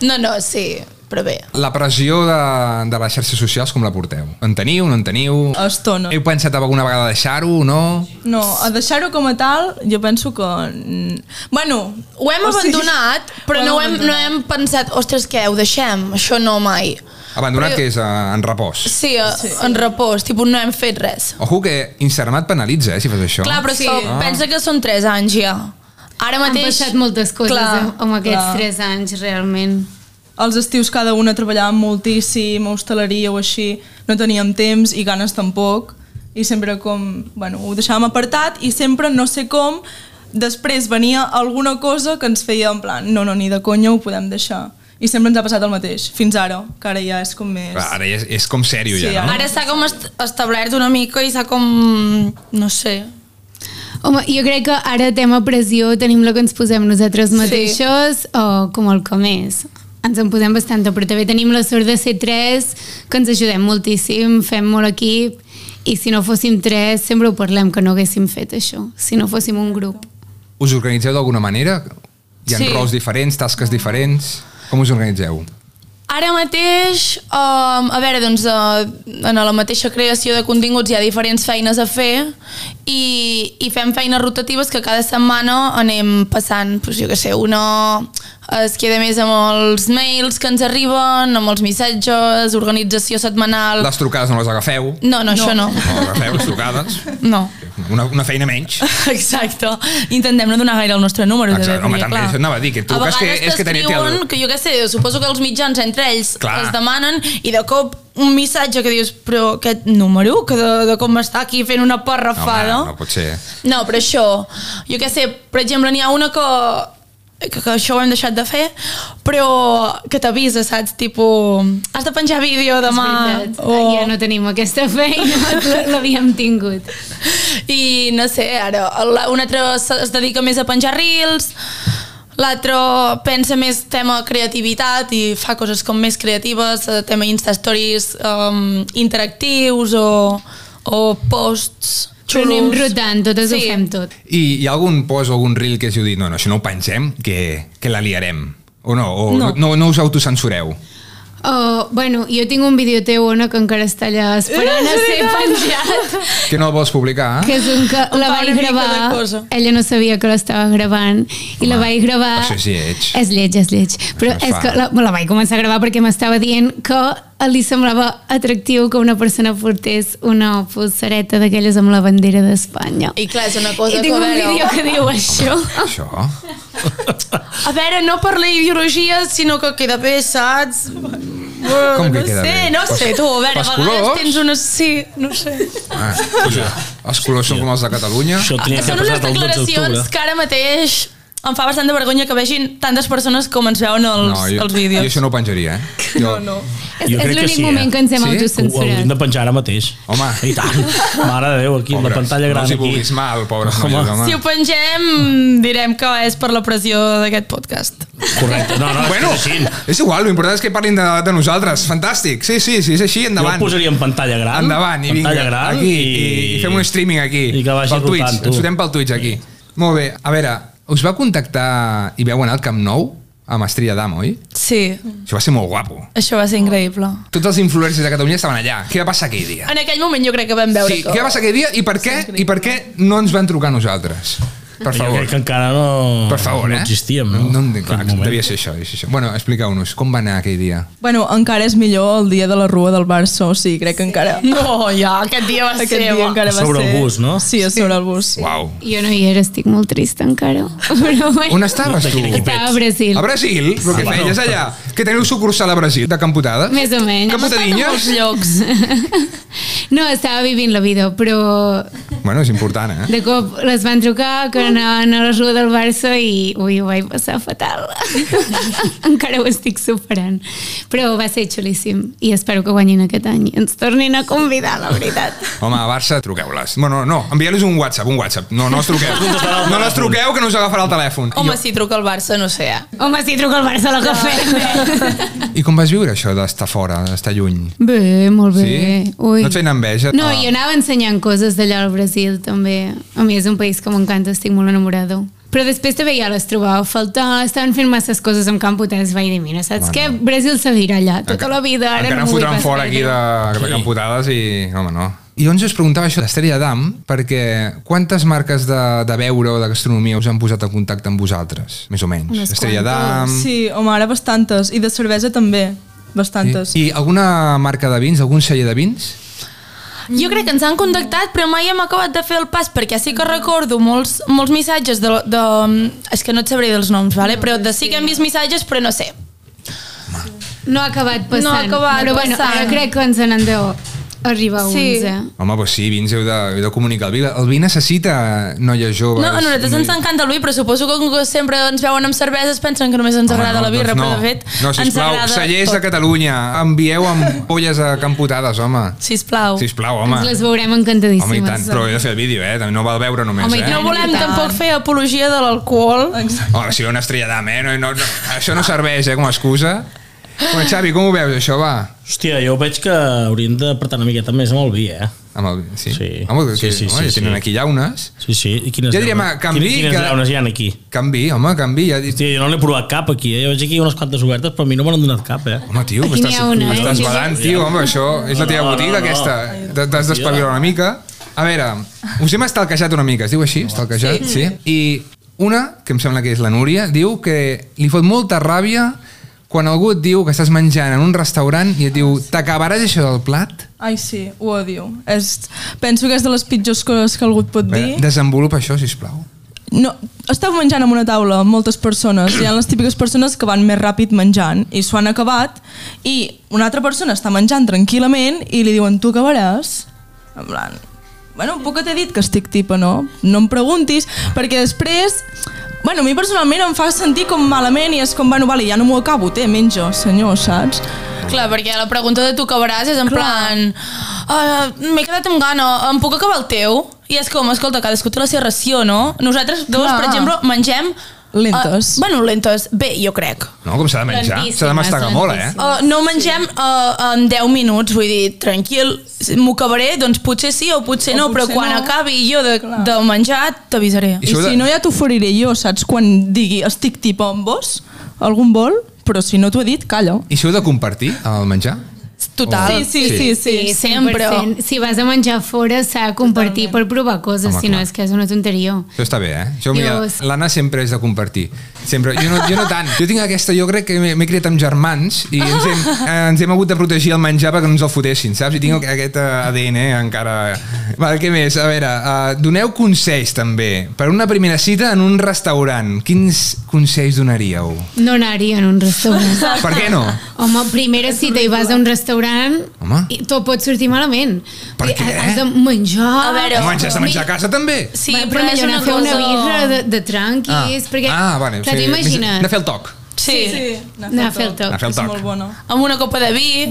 E: No, no, sí, però bé.
B: la pressió de, de les xarxes socials com la porteu? En teniu, no en teniu?
G: A estona.
B: Heu pensat alguna vegada deixar-ho o no?
G: No, a deixar-ho com a tal, jo penso que... mm, Bueno,
E: Ho hem abandonat, però no, hem, no hem pensat, ostres, què, ho deixem? Això no mai.
B: Abandonat
E: Però-
B: que és eh, en repòs.
E: Sí, sí. en repòs, tipus no hem fet res.
B: Ojo que Instagram et penalitza, eh, si fas això.
E: Clar, però sí.
F: Sí.
E: que pensa que són 3 anys ja. Ara
F: Han
E: mateix...
F: passat moltes coses clar, amb, amb aquests
G: clar.
F: tres anys, realment.
G: els estius cada una treballàvem moltíssim, a hostaleria o així, no teníem temps i ganes tampoc, i sempre com, bueno, ho deixàvem apartat i sempre, no sé com, després venia alguna cosa que ens feia en plan, no, no, ni de conya ho podem deixar. I sempre ens ha passat el mateix, fins ara, que ara ja és com més...
B: Clar, Ara és, és com sèrio
G: Sí,
B: ja, no?
E: Ara s'ha com est establert una mica i s'ha com... no sé.
F: Home, jo crec que ara tema pressió tenim la que ens posem nosaltres mateixos o com el que més. Ens en posem bastant, però també tenim la sort de ser tres, que ens ajudem moltíssim, fem molt equip, i si no fóssim tres sempre ho parlem, que no haguéssim fet això, si no fóssim un grup.
B: Us organitzeu d'alguna manera? Hi ha
E: Sí.
B: rols diferents, tasques diferents? Com us organitzeu?
E: Ara mateix, um, a veure, doncs, uh, en la mateixa creació de continguts hi ha diferents feines a fer i, i fem feines rotatives que cada setmana anem passant, doncs, jo què sé, una es queda més amb els mails que ens arriben, amb els missatges, organització setmanal...
B: Les trucades no les agafeu?
E: No, no, això no.
B: No agafeu les trucades?
E: No,
B: Una, una feina menys.
E: exacte. Intentem no donar gaire el nostre número.
B: Exacte,
E: també,
B: home,
E: perquè,
B: també
E: clar,
B: això anava a dir, que et truques que-
E: vegades
B: és que tenia- té el-
E: t'escriuen que jo què sé, suposo que els mitjans entre ells
B: Clar.
E: es demanen i de cop un missatge que dius però aquest número, que de, de com està aquí fent una parrafada.
B: no pot ser. eh?
E: No, però això, jo què sé, per exemple, n'hi ha una que, que, que això ho hem deixat de fer, però que t'avisa, saps? Tipo, has de penjar vídeo demà.
F: És veritat, ja no tenim aquesta feina, l- l'havíem tingut.
E: I no sé, ara, la- un altre se- es dedica més a penjar reels, l'altre pensa més tema creativitat i fa coses com més creatives, eh, tema Instastories um, interactius o, o posts
F: Però anem
E: xulos.
F: rotant, totes sí.
E: Sí.
F: ho fem tot.
B: I hi ha algun post o algun reel que us heu dit no, no, això no ho pengem, que, que la liarem? O no? O no.
G: No.
B: No, no us autocensureu?
F: Oh, bueno, jo tinc un vídeo teu, Ona, que encara està allà esperant a ser penjat.
B: Que no el vols publicar? eh?
F: que és un que la
E: fa una mica
F: vaig
E: de
F: gravar,
E: cosa.
F: ella no sabia que l'estava gravant i la vaig gravar...
B: això és lleig.
F: És lleig, és lleig. Però
B: no es
F: és
B: fa.
F: que la, la vaig començar a gravar perquè m'estava dient que li semblava atractiu que una persona portés una pulsareta d'aquelles amb la bandera d'Espanya.
E: I clar, és una cosa
F: I
E: que
F: tinc un
E: veure-
F: vídeo que diu això.
B: Això?
E: A veure, no parla ideologia, sinó que queda bé, saps?
B: Com que
E: no
B: queda
E: sé,
B: bé?
E: no sé, tu, a veure,
B: Pels
E: a vegades
B: colors?
E: tens unes... Sí, no sé.
B: Ah, els colors són com els de Catalunya?
C: Això tenia que
E: Són
C: haver
E: unes
C: passat el 12 d'octubre.
E: declaracions que ara mateix em fa bastanta vergonya que vegin tantes persones com ens veuen els, no,
B: jo,
E: els
B: jo
E: vídeos.
B: això no ho penjaria, eh? Jo,
G: No, no.
F: És,
C: Jo crec
F: és
C: que
F: l'únic
C: sí, eh?
F: moment que ens hem
B: Sí?
C: Ho hauríem
F: autocensurat.
C: de penjar ara mateix.
B: Home.
C: I tant. Mare de Déu, aquí, amb la pantalla
B: no
C: gran
B: els hi
C: aquí.
B: vulguis mal, pobres noies, home.
E: Si ho pengem, direm que és per la pressió d'aquest podcast.
C: Correcte. No, no,
B: Bueno,
C: bueno. així.
B: és igual, l'important és que parlin de, de nosaltres. Fantàstic, sí, sí, sí, és així,
C: Jo
B: endavant.
C: el posaria en pantalla gran.
B: Endavant, i vinga,
C: Pantalla gran
B: aquí, i... i fem un streaming aquí,
C: I que vagi
B: pel Twitch,
C: rotant, tu.
B: ens fotem pel Twitch aquí. Molt bé, a veure, us va contactar i veu anar al Camp Nou amb Estrella Damm, oi?
E: Sí,
B: Això va ser molt guapo.
E: això va ser increïble.
B: Tots els influencers de Catalunya estaven allà. Què va passar aquell dia?
E: En aquell moment jo crec que vam veure
B: Sí,
E: que...
B: què va passar aquell dia i per què i per què no ens van trucar a nosaltres? Per
C: Jo
B: favor.
C: crec que encara no,
B: Per favor,
C: no
B: eh?
C: existíem, no?
B: no,
C: En
B: no clar,
C: aquell moment.
B: devia ser això, devia ser això. Bueno, expliqueu-nos, com va anar aquell dia?
G: Bueno, encara és millor el dia de la Rua del Barça, o sigui, crec que encara...
E: No, ja, aquest dia va
G: Aquest
E: ser...
G: dia
E: Dia,
G: encara
C: A
G: va
C: sobre
G: ser...
C: el bus, no?
G: Sí, a sobre el bus.
B: Uau.
F: Jo no hi era, estic molt trista encara. Però bueno,
B: On estaves tu?
C: D'aquí, d'aquí.
F: estava a Brasil.
B: A Brasil? Però què
C: Ah,
B: feies
C: bueno.
B: allà? Que teniu sucursal a Brasil, de Camputades?
F: Més o menys.
B: Camputadinyes?
E: molts llocs.
F: No, estava vivint la vida, però
B: Bueno, és important, eh?
F: de cop les van trucar que anaven a la rua del Barça i ui, ho vaig passar fatal. Encara ho estic superant. Però va ser xulíssim i espero que guanyin aquest any. Ens tornin a convidar, la veritat.
B: Home, a Barça, truqueu-les. Bueno, no, envieu-los un WhatsApp, un WhatsApp. No, no els truqueu. No les truqueu, que no us agafarà el telèfon.
E: Home, si truca el Barça, no sé, eh?
F: Home, si truca el Barça a la
B: I,
F: cafè.
B: I com vas viure això d'estar fora, d'estar lluny?
F: Bé, molt bé.
B: Sí?
F: Ui.
B: No et feien enveja?
F: No,
B: Ah.
F: jo anava ensenyant coses d'allà al Brasil, també. A mi és un país que m'encanta, estic molt enamorada. Però després també ja les trobava a faltar, estaven fent masses coses amb Camputens, vaig dir, mira,
B: Bueno.
F: saps bueno. què? Brasil seguirà allà, tota la vida, ara
B: Encara
F: no
B: en
F: m'ho vull
B: fotran
F: pas
B: fora aquí de,
F: perdre.
B: de camputades i... Home, no. I on us preguntava això d'Estrella d'Am, perquè quantes marques de, de beure o de gastronomia us han posat en contacte amb vosaltres, més o menys?
F: Unes
B: Estrella d'Am...
G: Sí, home, ara bastantes. I de cervesa també, bastantes.
B: I, I alguna marca de vins, algun celler de vins?
E: Jo crec que ens han contactat, però mai hem acabat de fer el pas, perquè sí que recordo molts, molts missatges de, de... És que no et sabré dels noms, vale? però de sí que hem vist missatges, però no sé.
F: No ha acabat passant.
E: No ha acabat
F: Però bueno,
E: passant.
F: ara crec que ens n'han de arribar a
E: Sí.
F: 11.
B: Home, doncs sí, vins heu de, heu de comunicar. El vi, el vi necessita noies joves.
E: No, a nosaltres ens encanta el vi, però suposo que com que sempre ens veuen amb cerveses pensen que només ens
B: Home,
E: agrada la birra,
B: doncs
E: però de fet
B: No,
E: ens
B: sisplau,
E: agrada
B: cellers de
E: tot.
B: Catalunya, envieu ampolles a Camputades, home.
E: Sisplau.
B: Sisplau, home.
F: Ens les veurem
B: Home, i
F: encantadíssimes.
B: tant, però he de fer el vídeo, eh? També no val veure només,
F: Home, i
B: eh?
E: No volem
F: tant.
E: tampoc fer apologia de l'alcohol.
B: Oh, si una estrella d'am, eh? No, no, no, això no serveix, eh, com a excusa. Bueno, Xavi, com ho veus, això, va?
C: Hòstia, jo veig que hauríem de apretar una miqueta més amb el vi, eh?
B: Amb el... Sí,
C: Sí.
B: Home,
C: Sí, sí,
B: home,
C: sí,
B: ja tenen
C: sí.
B: aquí llaunes.
C: Sí, sí. I quines
B: Jo diria,
C: llaunes-
B: ma, canvi,
C: quines, quines
B: que-
C: llaunes hi ha aquí?
B: Canvi, home, canvi. Ja... dit-
C: Hòstia, jo no n'he provat cap aquí, eh? Jo veig aquí unes quantes obertes, però a mi no me n'han donat cap, eh?
B: Home, tio,
F: Aquí
B: m'estàs
F: n'hi ha una, eh?
B: m'estàs badant, tio, home, això és la teva
C: No, no,
B: botiga,
C: no.
B: aquesta. T- T'has d'espavilar una mica. A veure, us hem estalquejat una mica, es diu així, estalquejat? Sí. I una, que em sembla que és la Núria, diu que li fot molta ràbia quan algú et diu que estàs menjant en un restaurant i et diu t'acabaràs això del plat?
G: Ai, sí, ho odio. És, penso que és de les pitjors coses que algú et pot
B: A veure,
G: dir.
B: Desenvolupa això, si plau.
G: No, estava menjant amb una taula amb moltes persones, hi ha les típiques persones que van més ràpid menjant i s'ho han acabat i una altra persona està menjant tranquil·lament i li diuen tu acabaràs? En plan, bueno, poc que t'he dit que estic tipa, no? No em preguntis, perquè després, bueno, a mi personalment em fa sentir com malament i és com, bueno, vale, ja no m'ho acabo, té, menja, senyor, saps?
E: Clar, perquè la pregunta de tu acabaràs és en
G: Clar.
E: plan uh, m'he quedat amb gana, em puc acabar el teu? I és com, escolta, cadascú té la seva ració, no? Nosaltres dos,
G: Clar.
E: per exemple, mengem...
G: Lentes.
E: Uh, bueno, lentes, bé, jo crec.
B: No, com s'ha de menjar?
F: Lentíssim,
B: S'ha de mastegar
F: és
B: molt, eh?
F: lentíssim.
E: Uh, no mengem uh, en 10 minuts, vull dir, tranquil, si m'ho acabaré, doncs potser sí o potser
G: O
E: no, però
G: potser
E: quan
G: no.
E: acabi jo de,
G: Clar.
E: de menjar t'avisaré.
B: I
G: I,
B: això de-
G: si no ja t'oferiré jo, saps? Quan digui estic tipa amb vos, algun vol, però si no t'ho he dit, calla.
B: I això heu de compartir el menjar?
E: Total.
B: Sí, sí,
G: sí, sí.
E: sí sempre.
F: 100%. Si vas a menjar fora s'ha de compartir per provar coses,
B: Home,
F: si no
B: clar.
F: és que és una tonteria.
B: Això està bé, eh? Això, mira,
F: Jo-
B: l'Anna sempre és de compartir. Sempre. Jo no, jo no tant. Jo tinc aquesta, jo crec que m'he m'he criat amb germans i ens hem, eh, ens hem hagut de protegir el menjar perquè no ens el fotessin, saps? I tinc aqu- aquest eh, ADN encara... Val, què més? A veure, uh, doneu consells també per una primera cita en un restaurant. Quins consells donaríeu?
F: No anar-hi en un restaurant.
B: Per què no?
F: Home, primera cita i vas a un restaurant
B: Home.
F: i tot pot sortir malament.
B: Per
F: Vull dir,
B: què?
F: Has de menjar...
E: A veure,
B: Home, ens has de menjar a casa també?
E: Sí,
F: bueno,
E: però és
F: millor
E: una
F: anar a fer una
E: cosa-
F: birra de, de tranquis, perquè...
B: ah, vale,
F: clar,
B: sí,
F: t'ho imagines?
B: Anar a fer Ah. el toc.
E: Sí. sí.
F: Anar a fer el toc.
B: Anar a fer el
G: És molt
B: toc.
G: bona.
E: Amb una copa de vi,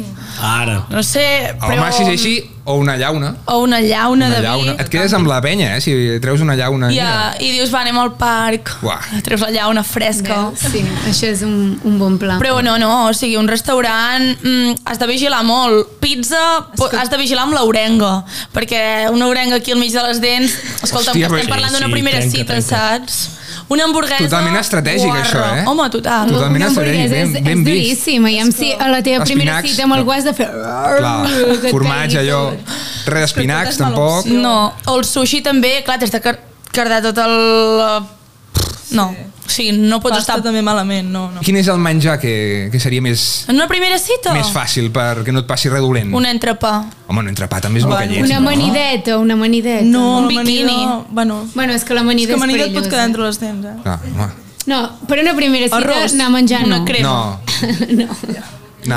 C: Ara.
E: no sé,
B: Home,
E: però...
B: si és així, o una llauna.
E: O una llauna
B: Una
E: de
B: llauna.
E: vi.
B: Et quedes amb la penya, eh? Si treus una llauna...
E: I, uh, I dius, va, anem al parc,
B: Uah.
E: treus la llauna fresca.
F: Bé, Sí, això és un, un bon pla.
E: Però no, no, o sigui, un restaurant mm, has de vigilar molt. Pizza po- has de vigilar amb l'orenga, perquè una orenga aquí al mig de les dents...
B: Hòstia, eh,
E: Escolta, Hòstia,
B: perquè-
E: estem parlant d'una
C: Sí, sí,
E: primera
C: trenca,
E: cita,
C: trenca.
E: saps? Una hamburguesa...
B: Totalment estratègic,
E: guarra.
B: això, eh?
E: Home, total.
B: Total. Totalment
F: una
B: estratègic,
F: hamburguesa
B: ben-
F: és,
B: ben
F: és
B: vist.
F: duríssima. I amb si a la teva primera
B: Espinacs.
F: cita amb algú has de fer...
B: Clar,
F: que et
B: formatge,
F: caigui
B: allò...
F: tot.
B: Res d'espinacs,
G: Croquetes mala
B: tampoc.
G: opció.
E: No, o el sushi també, clar, t'has de car- quedar tot el... eh, No, o sigui, no pots
G: Pasta
E: estar...
G: també malament, no, no.
B: Quin és el menjar que, que seria més,
E: En una primera cita?
B: més fàcil perquè no et passi res dolent?
E: Un entrepà.
B: Home, un entrepà també és el que lleig,
F: Una
B: no?
F: amanideta, una amanideta.
G: No,
E: Un
G: l'amanida-
E: biquini.
G: Bueno,
F: Bueno, és que
G: és
F: l'amanida
G: que
F: és,
G: amanida et pot
F: perillosa.
G: quedar entre les dents, eh?
B: Clar, home.
F: No, per una primera cita
E: Arròs,
F: anar a menjar
E: una
F: no.
E: crema.
B: No. no.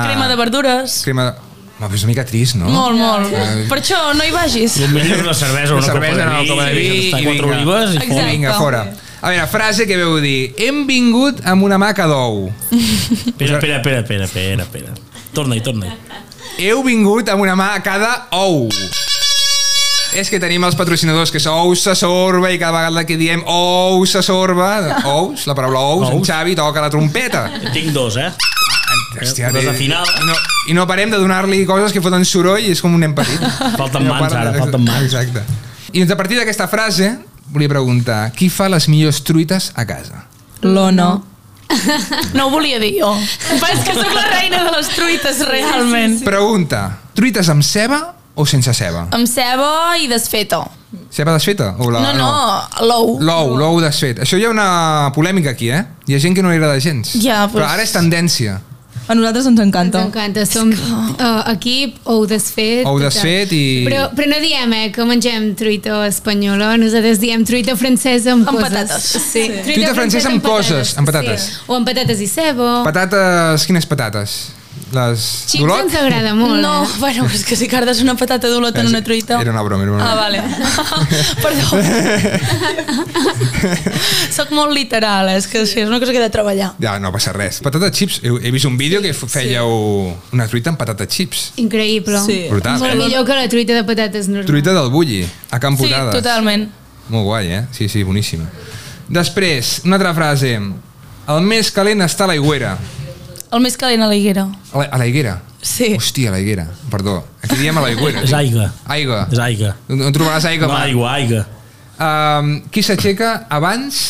E: Crema de verdures.
B: Crema de... Home, però és una mica trist, no?
E: Molt, molt.
B: Ai.
E: Per això no hi vagis.
C: El millor és una cervesa,
B: Una
C: una,
B: cervesa,
C: copa de
B: una
C: vi,
B: copa de vi,
C: i
B: i
C: quatre
B: vinga.
C: olives i
E: Exacte.
C: fora.
B: Vinga, fora. A veure, frase que veu dir. Hem vingut amb una maca d'ou.
C: Espera, espera, espera, espera, espera, espera. Torna-hi, torna-hi.
B: Heu vingut amb una mà a cada ou. És que tenim els patrocinadors, que és Ous se sorba, i cada vegada que diem Ous se sorba, Ous, la paraula Ous, en
C: Ous.
B: Xavi toca la trompeta.
C: En Tinc dos, eh?
B: Hòstia,
C: Però és
B: té-
C: la final.
B: I no, I no parem de donar-li coses que foten soroll i és com un nen petit.
C: Falten
B: I a
C: mans,
B: part-
C: ara, falten mans.
B: Exacte. I doncs a partir d'aquesta frase, volia preguntar, qui fa les millors truites a casa?
G: L'ona.
E: No ho volia dir jo. Però és que sóc la reina de les truites, realment.
B: Pregunta, truites amb ceba o sense ceba?
E: Amb ceba i desfeta.
B: Ceba desfeta? O la,
E: No, Ah, no, l'ou.
B: L'ou, l'ou desfet. Això hi ha una polèmica aquí, eh? Hi ha gent que no li agrada gens.
E: Ja, però-
B: Però ara és tendència.
G: A nosaltres ens encanta.
F: Ens encanta, som uh, equip, ou desfet.
B: Ou
F: tot
B: desfet
F: tal.
B: i-
F: Però, però no diem eh, que mengem truita espanyola, nosaltres diem truita francesa amb,
E: Amb
F: coses.
E: patates.
F: Sí.
B: Truita francesa amb coses, amb patates. Oh.
F: Sí. O amb patates i cebo.
B: Patates, quines patates? Les
F: Xips
B: d'Olot?
F: ens agrada molt.
E: No,
F: Eh?
E: Oh, bueno, és que si cardes una patata d'olot en una truita...
B: Era una broma, era una broma.
E: Ah, vale. Perdó. Soc molt literal, eh? és que sí, és una cosa que he de treballar.
B: Ja, no passa res. Patata chips. He, he vist un vídeo que f- fèieu una truita amb patata chips.
F: Increïble.
G: Sí.
B: Brutal,
F: Molt
B: eh?
F: millor que la truita de patates normal.
B: Truita del bulli, a Campodades.
E: Sí, totalment.
B: Molt guai, eh? Sí, sí, boníssima. Després, una altra frase. El més calent està a la higuera.
E: El més calent a la higuera.
B: A la, a la higuera?
E: Sí.
B: Hòstia, a la higuera. Perdó. Aquí diem a la higuera.
C: És aigua.
B: Aigua.
C: És aigua.
B: On on trobaràs aigua?
C: No,
B: Marc?
C: aigua, aigua.
B: Um, qui s'aixeca abans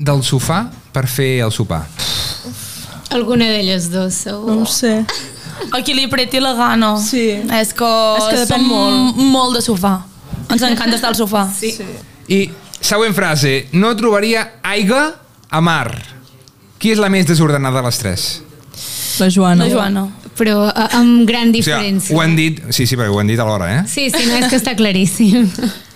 B: del sofà per fer el sopar?
F: Alguna d'elles dos, segur.
G: No ho sé.
E: A qui li preti la gana.
G: Sí.
E: És que,
G: És que depèn
E: som
G: molt.
E: molt de sofà. Ens encanta estar al sofà.
G: Sí. sí.
B: I següent frase. No trobaria aigua a mar. Qui és la més desordenada de les tres?
G: La Joana.
E: La Joana.
F: Però a, amb
B: O
F: gran
B: sigui,
F: diferència.
B: ho han dit... Sí, sí, perquè ho han dit alhora, eh?
F: Sí, sí, no, és que està claríssim.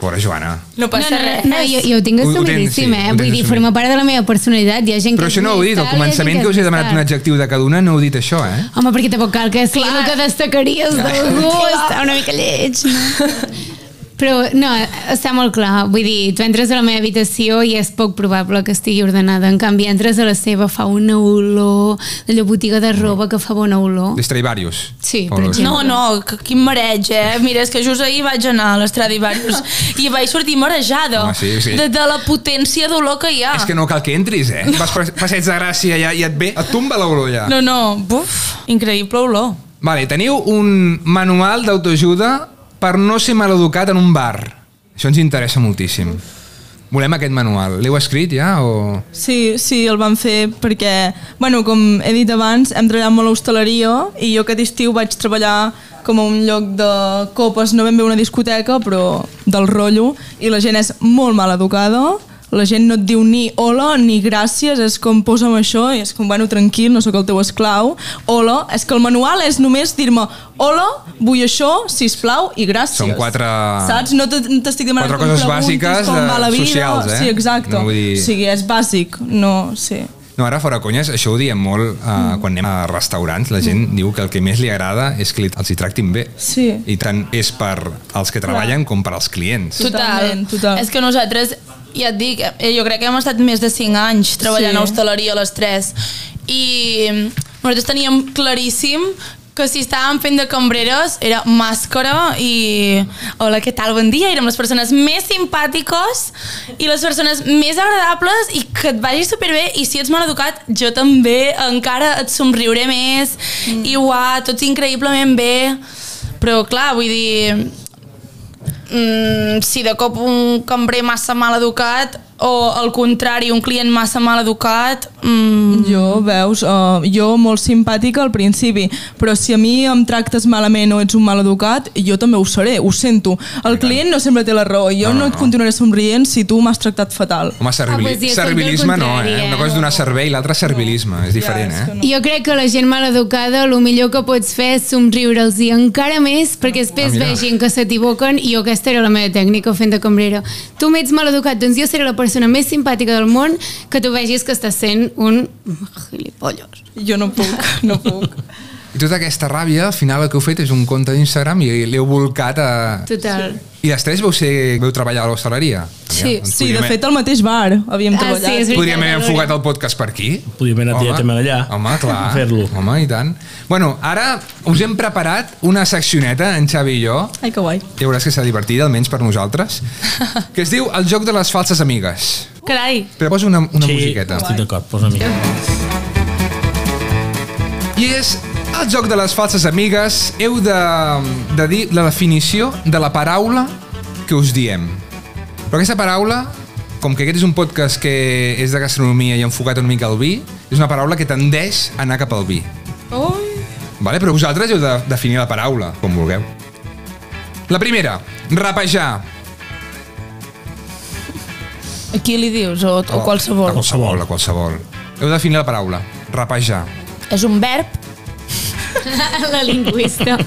B: Pobra Joana.
E: No passa
F: no, no,
E: res.
F: No, jo, jo ho tinc
B: Ho- ho tens,
F: assumidíssim,
B: sí,
F: eh?
B: ho tens
F: Vull dir,
B: assumit.
F: forma part de la meva personalitat. Hi ha gent
B: Però
F: que és
B: això no ho he
F: més
B: dit. Al
F: tal, hi ha gent
B: començament que us he
F: és més
B: demanat un
F: tal.
B: adjectiu de cada una, no heu dit això, eh?
F: Home, perquè tampoc cal que sigui el que destacaries d'algú. Està una mica lleig, no? Però, no, està molt clar. Vull dir, tu entres a la meva habitació i és poc probable que estigui ordenada. En canvi, entres a la seva, fa una olor, allò botiga de roba que fa bona olor.
B: D'Estradivarius.
F: Sí, per
B: Pobra.
F: exemple.
E: No, no, Oh, que, quin mareig, eh? Mira, és que just ahir vaig anar a l'Estradivarius i vaig sortir marejada
B: Home, sí, sí.
E: De, de la potència d'olor que hi ha.
B: És que no cal que entris, eh? Vas per passeig de Gràcia ja, i et ve, et tomba l'olor ja.
E: No, no, buf, increïble olor.
B: Vale, teniu un manual d'autoajuda per no ser maleducat en un bar. Això ens interessa moltíssim. Volem aquest manual. L'heu escrit ja o...?
G: Sí, sí, el vam fer perquè, bueno, com he dit abans, hem treballat molt a hostaleria i jo aquest estiu vaig treballar com a un lloc de copes, no ben bé una discoteca, però del rotllo, i la gent és molt mal educada, la gent no et diu ni hola ni gràcies, és com posa'm això i és com, bueno, tranquil, no sóc el teu esclau, hola, és que el manual és només dir-me hola, vull això, sisplau i gràcies.
B: Són quatre-
G: Saps? No te- no t'estic demanant
B: Quatre
G: que em
B: coses
G: preguntis
B: bàsiques
G: com
B: de-
G: va la vida.
B: socials, eh?
G: Sí, exacte.
B: No vull dir-
G: O sigui, sigui, és bàsic, no sé.
B: No, ara fora conyes, això ho diem molt eh, quan anem a restaurants, la gent diu que el que més li agrada és que li- els hi tractin bé.
G: Sí.
B: I tant és per als que treballen com per als clients.
G: Tu- Totalment, total.
E: És que nosaltres, ja et dic, eh, jo crec que hem estat més de 5 anys treballant
G: Sí.
E: sí. a hostaleria a les 3 i mm, nosaltres teníem claríssim que si estàvem fent de cambreres era màscara i hola, què tal, bon dia, érem les persones més simpàtiques i les persones més agradables i que et vagi superbé i si ets mal educat jo també encara et somriuré més mm. i uà, tots increïblement bé però clar, vull dir mm, si de cop un cambrer massa mal educat o al contrari, un client massa mal educat, mm,
G: Jo, veus, uh, jo molt simpàtica al principi, però si a mi em tractes malament o ets un mal educat, jo també ho seré, ho sento. El client no sempre té la raó, jo no, no et continuaré somrient si tu m'has tractat fatal.
B: Home, servili...
F: Ah, pues sí, és tot el
B: servilisme no,
F: contrari,
B: eh?
F: eh?
B: Una cosa és donar servei, l'altra servilisme. És diferent,
G: és que
B: eh?
G: no.
F: Jo crec que la gent maleducada el millor que pots fer és somriure'ls i encara més
B: Ah,
F: perquè després
B: mira.
F: vegin que s'equivoquen i jo aquesta era la meva tècnica fent de cambrera. Tu m'ets maleducat, doncs jo seré la persona més simpàtica del món que tu vegis que estàs sent un gilipollos.
G: Jo no puc, no puc.
B: I tota aquesta ràbia, al final el que heu fet és un compte d'Instagram i l'heu volcat a...
F: Total.
B: I les tres vau, ser, vau treballar a l'hostaleria?
F: Sí,
B: Aviam, doncs
G: Sí, de
B: podríem-
G: fet, al mateix bar havíem
F: Ah,
G: treballat.
F: sí, és veritat.
B: Podríem haver enfocat el podcast per aquí.
C: Podríem haver anat
B: Home,
C: directament allà.
B: Home, clar.
C: A fer-lo.
B: Home, i tant. Bueno, ara us hem preparat una seccioneta, en Xavi i jo,
G: Ai, que guai.
B: ja veuràs que serà divertida, almenys per nosaltres, que es diu El joc de les falses amigues.
E: carai,
B: Però posa una, una
C: sí,
B: musiqueta.
C: estic d'acord, posa una mica.
B: I és el joc de les falses amigues. Heu de, de dir la definició de la paraula que us diem. Però aquesta paraula, com que aquest és un podcast que és de gastronomia i enfocat una mica al vi, és una paraula que tendeix a anar cap al vi. Vale? Però vosaltres heu de definir la paraula, com vulgueu. La primera, rapejar.
E: a qui li dius? O,
B: Oh.
E: o qualsevol.
B: Qualsevol, la qualsevol. Heu de definir la paraula, rapejar.
E: És un verb
F: la lingüista.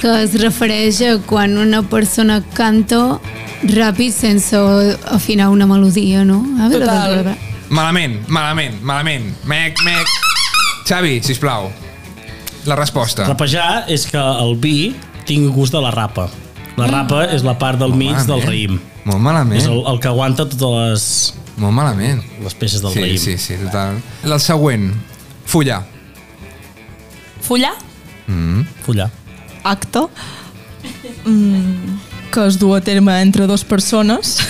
F: Que es refereix a quan una persona canta ràpid sense afinar una melodia, no? Ah, A veure,
G: Total.
F: a veure.
B: Malament, malament, malament. Mec, mec. Xavi, sisplau. La resposta.
C: Rapejar és que el vi tingui gust de la rapa.
B: Mm.
C: La rapa és la part del mig del raïm.
B: Molt malament.
C: És el, el que aguanta totes les,
B: Molt malament.
C: les peces del
B: sí,
C: raïm.
B: sí, sí, total. El següent. Follar.
E: follar?
C: Follar.
G: Acte. Mm, que es du a terme entre dues persones.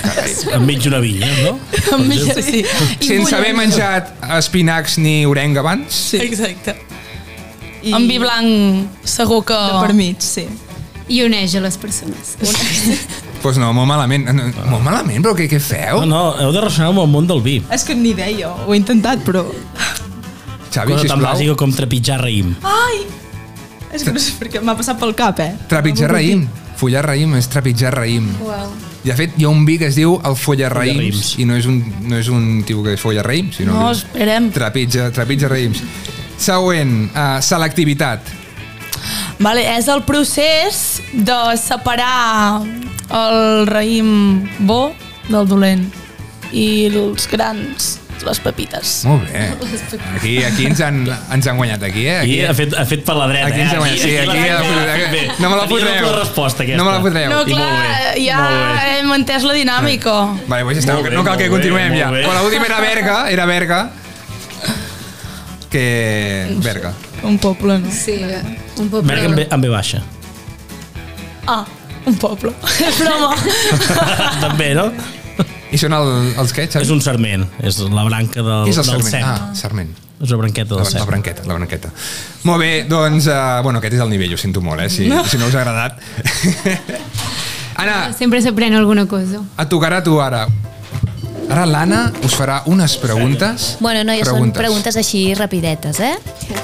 C: Enmig d'una vinya, no?
G: Amb mi, sí. I
B: Sense
G: bullen.
B: haver menjat espinacs ni orenga abans.
G: Sí.
E: Exacte.
G: I
E: Amb vi blanc segur que...
G: Per mig, sí.
F: I uneix a les persones.
B: Doncs pues no, molt malament. No, Molt malament, però què, què feu?
C: Ah. No, no, heu de relacionar amb el món del vi.
G: És que ni idea, ho he intentat, però...
B: Xavi,
C: Cosa tan
B: sisplau. Ah.
C: bàsica com trepitjar raïm.
G: Ai! És que no sé per què m'ha passat pel cap, eh?
B: Trepitjar raïm. Follar raïm és trepitjar raïm.
F: Wow.
B: De fet, hi ha un vi que es diu el follar raïms
C: Follarraïms.
B: i no és un, no és un tio que folla raïms, sinó
E: No,
B: que és-
E: esperem.
B: trepitja, trepitja raïms. Següent, uh, selectivitat.
E: Vale, és el procés de separar el raïm bo del dolent i els grans, les pepites.
B: Molt bé. Aquí, aquí ens, han, ens han guanyat, aquí, eh?
C: Aquí
B: Aquí,
C: ha fet, ha fet per la dreta,
B: Aquí ens ha guanyat, sí, aquí
C: eh? la-
B: ha fet-
C: ha fet bé.
B: no me la
C: Tenia
B: fotreu.
C: doble resposta, aquesta.
B: No me la fotreu.
E: No,
C: I molt
E: clar,
C: bé,
E: ja
C: molt bé.
E: hem entès la dinàmica.
B: Vale, pues ja està,
C: Molt
B: no-
C: bé,
B: no cal
C: molt
B: que
C: bé,
B: continuem
C: molt
B: ja.
C: bé.
B: Quan l'última era verga, era verga, que... Verga.
G: Un poble, no?
F: Sí, un poc
C: Merga amb, B- amb B baixa.
E: Ah, un poble. És broma.
C: També, no?
B: I són el, els què, Xavi?
C: És un sarment, és la branca del,
B: Què és el
C: del
B: sarment?
C: cep.
B: Ah, sarment.
C: És la branqueta
B: La,
C: del
B: la
C: cep.
B: branqueta, la branqueta. Molt bé, doncs, uh, bueno, aquest és el nivell, ho sinto molt, eh? Si, si no us ha agradat. Anna,
F: Sempre s'aprèn alguna cosa.
B: et tocarà a tu ara. Ara l'Anna us farà unes preguntes.
H: Bueno, no, ja són preguntes així rapidetes, eh?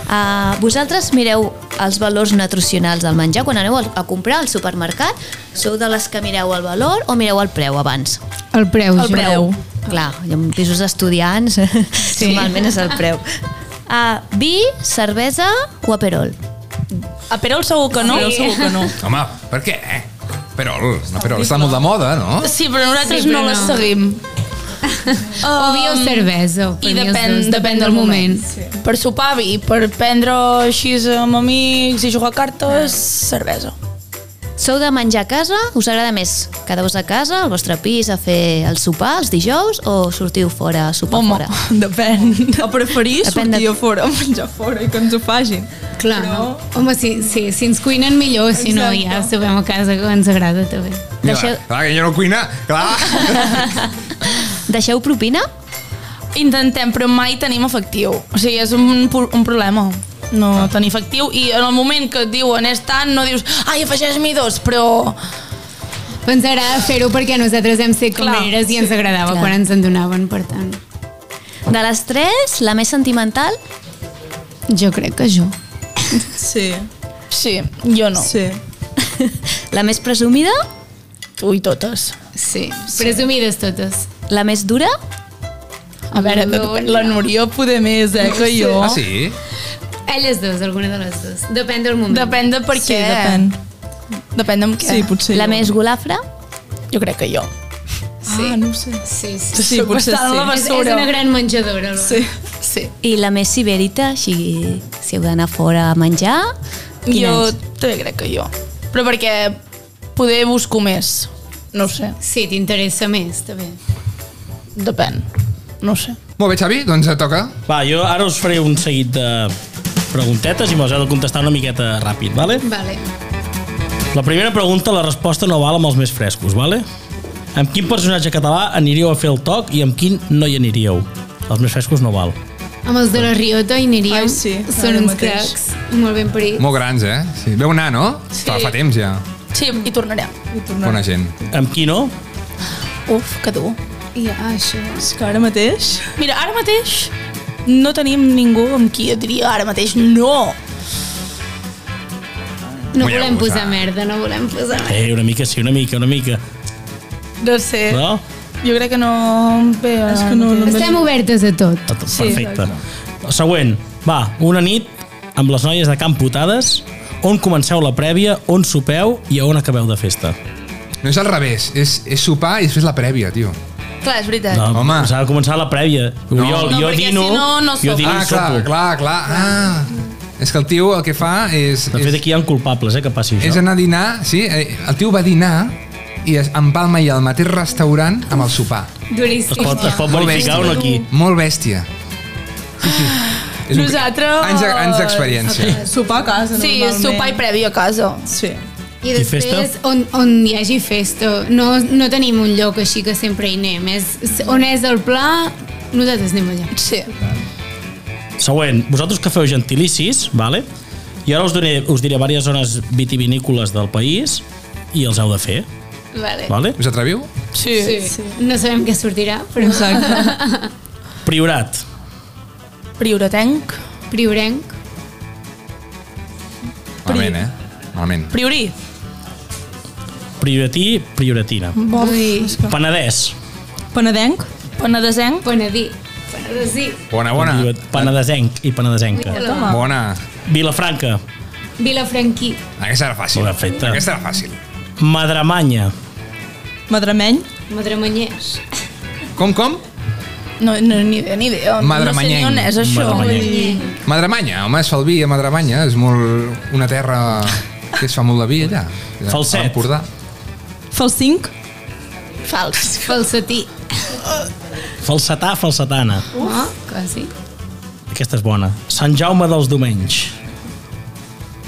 H: Uh, vosaltres mireu els valors nutricionals del menjar quan aneu a comprar al supermercat? Sou de les que mireu el valor o mireu el preu abans?
F: El preu,
E: El
F: jo.
E: preu.
H: Clar, i en pisos d'estudiants sí. normalment és el preu. Uh, vi, cervesa o aperol?
E: A Perol ah, segur que no.
G: Jo segur que no.
B: Home, per què? eh? Però, no, però està molt de moda, no?
E: Oh, Sí, però nosaltres
F: Sí, però
E: no les
F: no.
E: seguim.
F: O vi o
E: Um,
F: cervesa. per
E: I
F: mi els
E: depèn,
F: dos,
E: depèn del moment. Sí. Per sopar vi, per prendre així amb amics i jugar a cartes, cervesa.
H: Sou de menjar a casa? Us agrada més quedar-vos a casa, al vostre pis, a fer el sopar els dijous o sortiu fora a sopar
E: Home.
H: fora?
G: Depèn. A preferir
H: Depèn
G: sortir
H: de-
G: de... a fora, a menjar fora i que ens ho facin.
F: Clar,
G: Però-
F: home, si, si, si ens cuinen millor, si no
G: Exacte.
F: ja sabem a casa que ens agrada també.
B: Mira,
H: Deixeu-
B: Clar, que jo no cuina, clar.
H: Deixeu propina?
E: Intentem, però mai tenim efectiu. O sigui, és un, pro- un problema
G: Ah.
E: no tenir efectiu i en el moment que et diuen és tant, no dius, ai, afegeix-m'hi dos, però
F: Ens agrada fer-ho perquè nosaltres hem set camareres i ens agradava
A: clar.
F: quan ens en donaven, per tant.
H: De les tres, la més sentimental,
F: Jo crec que jo.
G: Sí,
E: Sí, jo no.
G: sí.
H: la més presumida,
E: Ui, totes.
F: Sí. Presumides totes.
H: la més dura,
E: A veure, tot, la Núria poder més, eh, que jo.
B: Ah, sí?
F: Elles dues, alguna de les dues. Depèn del moment.
E: Depèn de per
G: Sí,
E: què.
G: depèn.
E: Depèn de amb què.
G: Sí, potser
H: la
G: jo.
H: més golafra,
E: Jo crec que jo.
G: Ah, no ho sé.
F: Sí, sí.
G: Sí, potser
E: bastant la
G: sí.
F: És, és
E: basura.
F: una gran menjadora. Sí.
E: Sí.
H: i la més siberita, així, si heu d'anar fora a menjar, quina
E: jo
H: és?
E: també crec que jo. Però perquè poder busco més. No ho sé.
F: Sí, t'interessa més, també.
E: Depèn. No ho sé.
B: Molt bé, Xavi, doncs et toca.
C: Va, jo ara us faré un seguit de preguntetes i m'has de contestar una miqueta ràpid, vale?
F: Vale.
C: La primera pregunta, la resposta no val amb els més frescos, vale? Amb quin personatge català aniríeu a fer el toc i amb quin no hi aniríeu? Els més frescos no val.
F: Amb els de la Riota hi aniríem.
G: Ai, sí,
F: Són
G: ara
F: uns
G: mateix.
F: cracs. Molt ben parits.
B: Molt grans, eh? Sí. Veu anar, no? Sí. Fa, fa temps ja.
E: Sí, hi tornaré.
G: I tornar.
B: Bona gent.
C: Amb qui no?
E: Uf, que dur.
F: Ja, això.
G: És que ara mateix
E: Mira, ara mateix no tenim ningú amb qui jo diria ara mateix no.
F: No
B: Vull
F: volem
B: abusar.
F: posar merda, no volem posar merda.
C: Eh, una mica sí, una mica, una mica.
E: No sé.
C: Però,
E: Jo crec que no... Bé,
G: és que no, no em
F: Estem obertes a tot.
C: tot- perfecte. Següent, va, una nit amb les noies de Camp Putades, on comenceu la prèvia, on sopeu i a on acabeu de festa.
B: No és al revés, és, és sopar i després la prèvia, tio.
E: Clar, és veritat.
C: No,
B: Home.
C: S'ha de començar la prèvia. No. Jo,
E: No,
C: jo
E: perquè
C: dino,
E: si no, no
C: jo
E: sopo.
C: dino
B: Ah,
C: i sopo.
B: clar, clar, clar. Ah, és que el tio el que fa és...
C: De fet,
B: és,
C: aquí hi ha culpables, eh, que passi
B: és
C: això.
B: anar a dinar, sí? eh, El tio va dinar i es empalma i al mateix restaurant amb el sopar.
C: Es
F: Duríssim.
C: pot, es pot
B: Molt
C: verificar o no aquí.
B: Molt bèstia. Sí, sí. És un-
E: Nosaltres-
B: Anys, anys d'experiència.
G: sopar a casa
E: Sí,
G: normalment.
E: sopar i previ a casa.
G: Sí.
F: I
C: I
F: després,
C: festa?
F: on, on hi hagi festa, no, no tenim un lloc així que sempre hi anem. És, on és el pla, nosaltres anem allà.
E: Sí.
C: Següent, vosaltres que feu gentilicis, vale? i ara us, donaré, us diré diverses zones vitivinícoles del país i els heu de fer,
F: Vale.
C: vale?
B: Us atreviu?
E: Sí.
F: Sí. sí. No sabem què sortirà, però...
G: Exacte.
C: Priorat,
E: Prioretenc.
F: Priorenc.
B: Malament, eh? Malament.
E: Priori.
C: prioratí, prioratina.
G: Mm.
F: Ui.
C: Penedès,
G: Penedenc?
E: Penedesenc.
F: Penedí. Penedesí.
B: Bona, Ah, bona.
C: penedesenc i penedesenca.
B: Bona.
C: Vilafranca,
F: Vilafranquí.
B: Aquesta era fàcil.
C: Bona feta.
B: Aquesta era fàcil.
C: Madramanya,
G: Madremeny?
F: Madremanyers.
B: Com, com?
E: No, no, ni idea, ni idea.
B: Madremanyenc.
E: No sé ni on és això.
C: Madremanyenc.
B: Madremanya, home, es fa el vi a Madremanya, és molt... una terra que es fa molt de vi allà.
C: Falset.
B: A l'Empordà.
G: Falcinc?
E: Fals.
F: Falsetí.
C: falsetà, falsetana.
F: Uf. No? Ah, Quasi.
C: Aquesta és bona. Sant Jaume dels Domenys,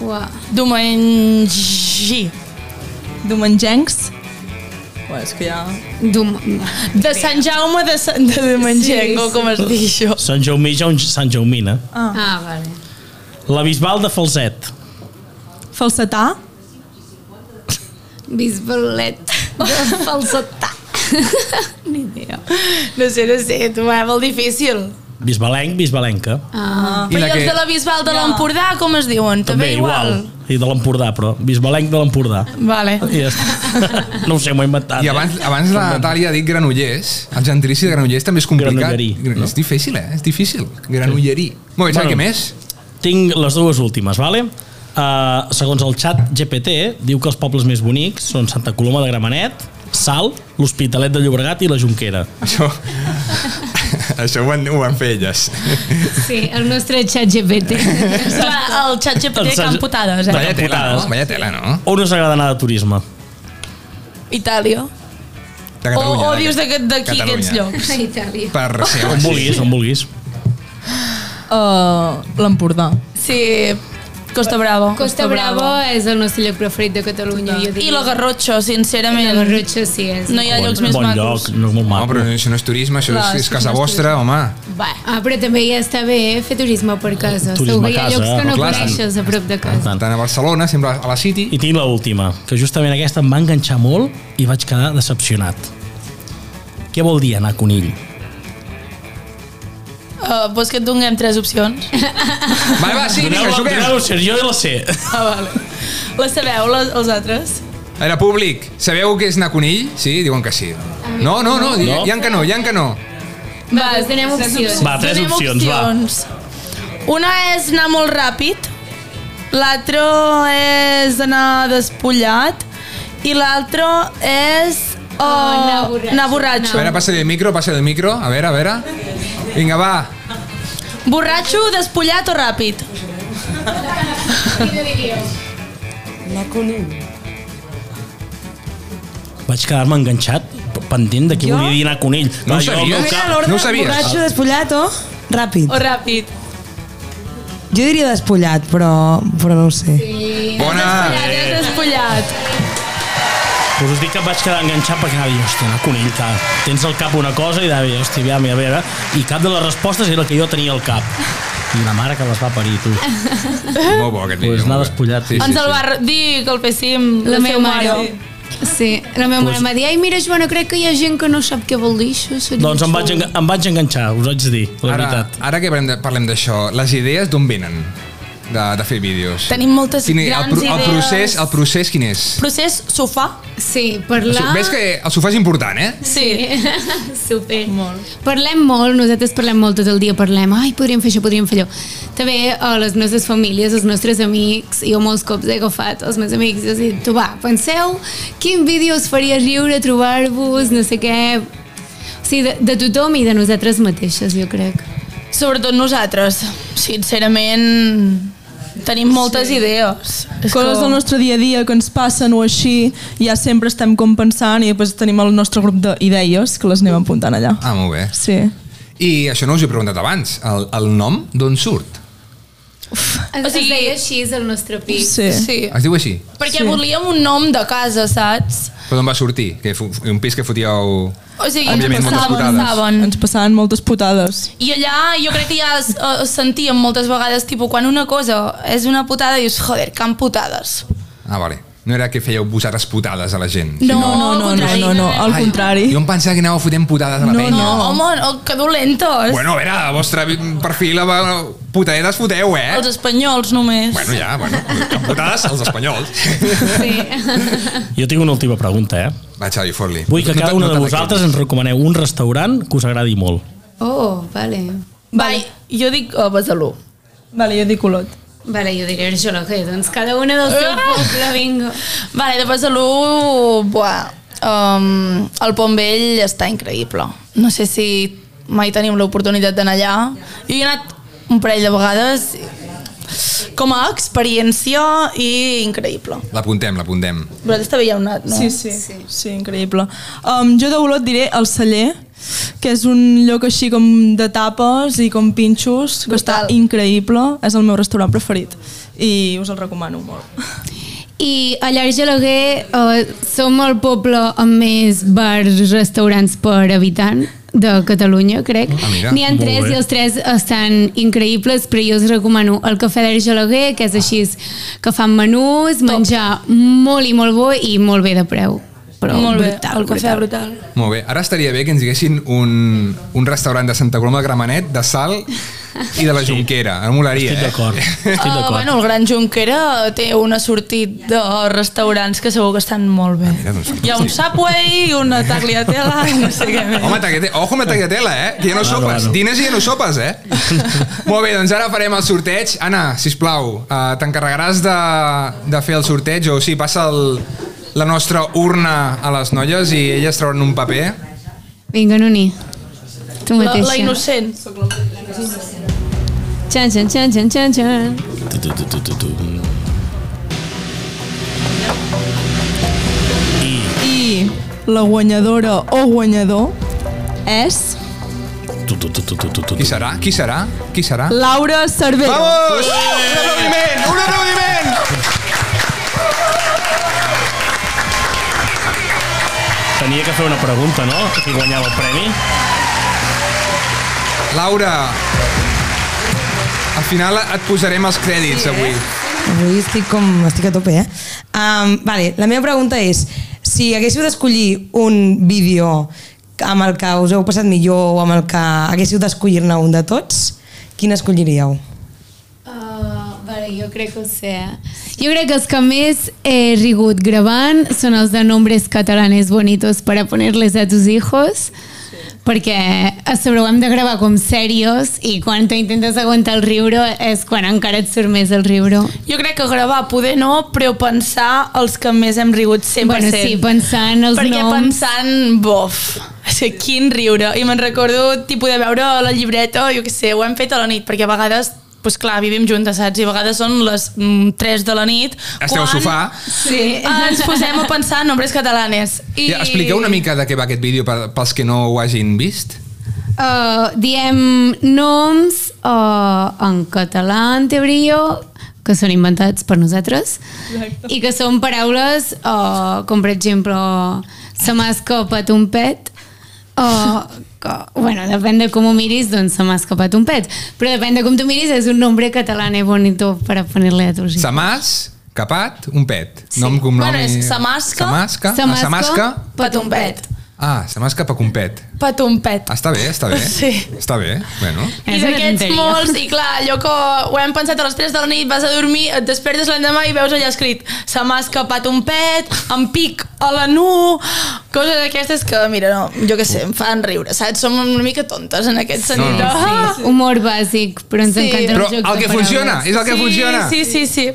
F: Uau.
E: Domengi.
G: Domengencs? Bé, és que ja...
F: Dum.
E: De Sant Jaume de, Sant, de Domengenc, sí, com es diu això.
C: Sant Jaumí, Jaum- Sant Jaumina.
F: Ah, vale.
C: La Bisbal de Falset,
G: Falsetà?
F: Bisbalet. Falsetà.
E: Ni idea. No sé, no sé, tu va, molt difícil.
C: Bisbalenc, Bisbalenca.
F: Ah.
B: I
E: Però
B: la
E: i els
B: que...
E: de la Bisbal de l'Empordà, com es diuen? També, igual.
C: I de l'Empordà, però. Bisbalenc de l'Empordà.
E: Vale.
C: I ja està. No ho sé, m'ho he inventat.
B: I abans, abans la Natàlia ha dit granollers. El gentilici de granollers també és complicat.
C: Granollerí, no?
B: És difícil, eh? És difícil. Granollerí. Molt bé,
C: Bueno.
B: bueno. què més?
C: Tinc les dues últimes, vale? Uh, segons el xat GPT, diu que els pobles més bonics són Santa Coloma de Gramenet, Salt, l'Hospitalet de Llobregat i la Jonquera.
B: Això, això ho, van, ho van fer elles.
F: Sí, el nostre xat GPT.
E: Clar, el xat GPT
C: Els-
E: que han putades, eh?
C: Vale.
B: Vaya tela,
C: Camputades.
B: no? Vaya tela, no?
C: On us agrada anar de turisme?
E: Itàlia.
B: De
E: O,
B: Catalunya.
E: o
B: de-
E: dius d'aquest- d'aquí,
B: Catalunya.
E: aquests llocs.
F: A Itàlia.
B: Per ser
C: On vulguis, on vulguis.
G: Uh, L'Empordà.
E: Sí, Costa Brava.
F: Costa Brava és el nostre lloc preferit de Catalunya, jo diria.
E: I la Garrotxa,
F: La
E: sincerament.
F: Garrotxa sí és.
E: No hi ha llocs més
C: bon
E: macos.
C: lloc, no és molt
B: No,
C: maco.
B: però això no és turisme, això
G: Clar,
B: és,
G: és
B: és
G: que
B: casa
G: no és
B: vostra, home.
E: Va.
F: Ah, però també ja està bé eh, fer turisme per casa.
C: Turisme a
F: Segur que hi ha
C: casa,
F: llocs que no
B: clar.
F: coneixes a prop de casa.
C: Tant.
B: Tant a Barcelona, sempre a la City.
C: I tinc l'última, que justament aquesta em va enganxar molt i vaig quedar decepcionat. Què vol dir anar a conill?
E: Uh, vols que et donem tres opcions?
B: Va, va, sí, vinga,
C: Doneu-la-
B: juguem.
C: doneu-la, Sergi, jo ja la sé.
E: Ah, vale. La sabeu, les, els altres?
B: Era públic. Sabeu què és anar conill? Sí, diuen que sí. No, no, no, hi
C: No?
B: hi ha que no, hi ha que no.
F: Va, doncs donem opcions.
C: Va, tres
E: Donem
C: opcions, va.
E: opcions. Una és anar molt ràpid, l'altra és anar despullat i l'altra és uh,
F: Oh, anar borratxo.
E: anar
B: A
E: borratxo.
B: veure, passa el micro, passa el micro. A veure, a veure. Vinga, va.
E: Borratxo, despullat o ràpid?
C: Vaig quedar-me enganxat, pendent de què
I: Jo?
C: volia dir anar a conill.
B: No ho
C: Clar, jo al meu
B: sabies?
C: cap-
I: Mira l'ordre,
B: No ho sabies.
I: borratxo, despullat o ràpid.
E: O ràpid.
I: Jo diria despullat, però, però no ho sé.
B: Bona.
E: Ara és despullat.
C: Us us dic que em vaig quedar enganxat perquè anava a dir, hòstia, anar a conill, que tens al cap una cosa i anava a dir, hòstia, aviam, i a veure, i cap de les respostes era el que jo tenia al cap. I la mare que les va parir, tu.
B: Ah, Molt bo aquest vídeo.
C: Pues anar
B: molt bé.
C: despullat.
B: Sí,
E: Ens
B: sí,
E: el
B: sí.
E: va dir que el féssim.
F: La meva
E: seu
F: mare. Sí, la meva
C: Pues-
F: mare em va dir, ai, mira, Joana, crec que hi ha gent que no sap què vol dir això. seria
C: Doncs em vaig,
F: xulo."
C: enga- em vaig enganxar, us haig de dir, la
B: Ara,
C: veritat.
B: ara que parlem de- parlem d'això, les idees d'on venen? De, de fer vídeos.
E: Tenim moltes
B: Quin, el,
E: grans
B: pro- el
E: idees.
B: procés, el procés quin és?
E: Procés sofà.
F: Sí,
B: El so-
F: parlar...
B: Ves que el sofà és important, eh?
E: Sí.
F: Super. Molt. Parlem molt, nosaltres parlem molt tot el dia, parlem, ai, podríem fer això, podríem fer allò. També a les nostres famílies, els nostres amics, jo molts cops he agafat els meus amics i els he dit, tu va, penseu quin vídeo us faria riure, trobar-vos, no sé què... O sigui, de, de tothom i de nosaltres mateixes, jo crec.
E: Sobretot nosaltres. Sincerament, tenim moltes idees. És
G: Coses
E: que-
G: del nostre dia a dia que ens passen o així, ja sempre estem compensant i després tenim el nostre grup d'idees que les anem apuntant allà.
B: Ah, molt bé.
G: Sí.
B: I això no us he preguntat abans. El, el nom d'on surt?
F: Es, o sigui,
E: sigui-
F: es deia així, és el nostre pic.
G: Sí.
E: Sí.
B: Es diu així?
E: Perquè
G: Sí.
E: volíem un nom de casa, saps?
B: Però d'on va sortir? Que fu- un pis que fotíeu...
E: O sigui,
B: Òbviament,
E: ens
B: moltes
E: passaven,
B: putades.
E: saben.
G: Ens passaven moltes putades.
E: I allà jo crec que ja es, eh, sentíem moltes vegades, tipus, quan una cosa és una putada, dius, joder, que han putades.
B: Ah, vale. No era que fèieu vosaltres putades a la gent.
E: No,
G: no, no, no, no, no, al contrari.
B: Jo em pensava que anàveu fotent putades a la
G: No,
B: penya.
E: No, home, no, que dolentes.
B: Bueno, a veure, el vostre vi- perfil va... Putadetes foteu, eh?
E: Els espanyols només.
B: Bueno, ja, bueno. Putades als espanyols.
F: Sí.
C: Jo tinc una última pregunta, eh?
B: Va, Xavi, fot-li.
C: Vull que
B: No te-
C: cada
B: no
C: una de
B: te
C: vosaltres
B: t'aquetis.
C: ens recomaneu un restaurant que us agradi molt.
F: Oh, vale.
E: Vai, jo dic uh, Besalú.
G: Vale, jo dic Olot.
F: Vale, jo diré Argelaguer, doncs cada una del seu poble, bingo.
E: Vale, de Besalú, buah, um, el Pont Vell està increïble. No sé si mai tenim l'oportunitat d'anar allà. Jo hi he anat un parell de vegades com a experiència i increïble.
B: L'apuntem, l'apuntem.
E: Vosaltres també hi heu anat, no?
G: Sí, sí, sí, sí increïble. Um, jo d'Olot diré el celler, que és un lloc així com de tapes i com pinxos, que està
E: Brutal.
G: increïble, és el meu restaurant preferit i us el recomano molt.
F: I a l'Argelaguer eh, som el poble amb més bars, restaurants per habitant de Catalunya, crec.
B: Ah, mira,
F: N'hi ha
C: molt
F: tres
C: bé.
F: i els tres estan increïbles, però jo us recomano el Cafè d'Argelaguer, que és així, que fan menús, menjar molt i molt bo i molt bé de preu. Però
E: Molt bé,
F: brutal,
E: el cafè
F: brutal.
E: brutal.
B: Molt bé, ara estaria bé que ens diguessin un, un restaurant de Santa Coloma de Gramenet, de Sal i de la Junquera. Em molaria,
C: Estic
B: eh?
C: d'acord, estic
E: Uh,
C: d'acord.
E: bueno, el Gran Junquera té una sortit de restaurants que segur que estan molt bé.
B: mira, doncs
E: Hi ha un Subway, una tagliatella, i no sé què més.
B: Home, taquete, ojo amb la tagliatella, eh? Que ja no
C: Claro,
B: sopes.
C: claro.
B: Dines i ja no sopes, eh? Molt bé, doncs ara farem el sorteig. Anna, sisplau, uh, t'encarregaràs de, de fer el sorteig o sí, passa el, la nostra urna a les noies i elles trauran un paper.
F: Vinga, Nuni. Tu
E: la,
F: mateixa.
E: la innocent.
F: Xan, xan, xan, xan, xan, xan.
C: Tu, tu, tu, tu, tu, tu.
G: I la guanyadora o guanyador és
C: Tu, tu, tu, tu, tu, tu, tu.
B: Qui serà? Qui serà? Qui serà?
G: Laura Cervell.
B: Vamos! Un aplaudiment! Un aplaudiment!
C: Tenia que fer una pregunta, no? Qui guanyava el premi?
B: Laura, al final et posarem els crèdits sí, eh? avui.
I: Avui estic com... estic a tope, eh? Um, vale, la meva pregunta és, si haguéssiu d'escollir un vídeo amb el que us heu passat millor o amb el que haguéssiu d'escollir-ne un de tots, quin escolliríeu?
F: Uh, vale, jo crec que ho sé. eh? Jo crec que els que més he rigut gravant són els de nombres catalanes bonitos para ponerles a tus hijos, perquè a sobre ho hem de gravar com serios i quan t'intentes aguantar el riure és quan encara et surt més el riure.
E: Jo crec que gravar poder no, però pensar els que més hem rigut 100%.
F: Bueno, sí, pensant els
E: Perquè
F: noms.
E: pensant, bof, és que quin riure. I me'n recordo tipus de veure la llibreta, jo què sé, ho hem fet a la nit, perquè a vegades pues clar, vivim juntes, saps? I a vegades són les mm, 3 de la nit.
B: Esteu al sofà.
E: Sí. Ens posem a pensar en nombres catalanes.
B: I...
E: I...
B: Ja, expliqueu una mica de què va aquest vídeo per- pels que no ho hagin vist.
F: Uh, diem noms uh, en català, en teoria, que són inventats per nosaltres Exacte. i que són paraules uh, com, per exemple, se m'ha escapat un pet o que, bueno, depèn de com ho miris, doncs se m'ha escapat un pet. Però depèn de com tu miris, és un nombre català bonito para ponerle a tu.
B: Samàs, capat, un pet. Sí. Nom, cognom...
E: Bueno, és
B: i-
E: Samasca.
B: Samasca. Ah,
F: Samasca.
B: Samasca.
E: Petompet.
B: Ah, Samasca pa compet.
E: Petompet.
B: Està bé, està bé.
E: Sí.
B: Està bé, bueno.
E: I
F: És una
E: d'aquests
F: tonteria.
E: molts, i clar, allò que ho hem pensat a les 3 de la nit, vas a dormir, et despertes l'endemà i veus allà escrit se m'ha escapat un pet, em pic a la nu, coses d'aquestes que, mira, no, jo què sé, em fan riure, saps? Som una mica tontes en aquest
B: No,
E: sentit.
B: no.
E: Ah!
F: Humor bàsic, però ens
E: Sí.
F: sí. encanten
B: Però
F: els jocs
B: el que
F: de paraules.
B: funciona, és el que
E: sí,
B: funciona.
E: Sí, sí, sí.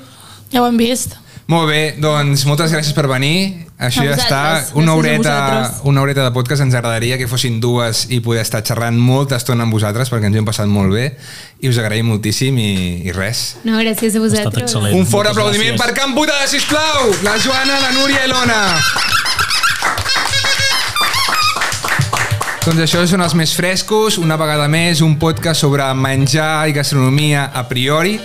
E: Ja ho hem vist.
B: Molt bé, doncs moltes gràcies per venir. Això
E: A
B: ja està.
E: vosaltres.
B: Una
G: Gràcies a
B: horeta,
G: vosaltres.
B: una horeta de podcast. Ens agradaria que fossin dues i poder estar xerrant molta estona amb vosaltres perquè ens ho hem passat molt bé i us agraïm moltíssim i, i res.
F: No, gràcies a
C: Ha estat
F: vosaltres.
C: excel·lent.
B: Un fort
C: Moltes
B: aplaudiment
C: gràcies.
B: per Can Putada, sisplau! La Joana, la Núria i l'Ona. Doncs això són els més frescos, una vegada més, un podcast sobre menjar i gastronomia a priori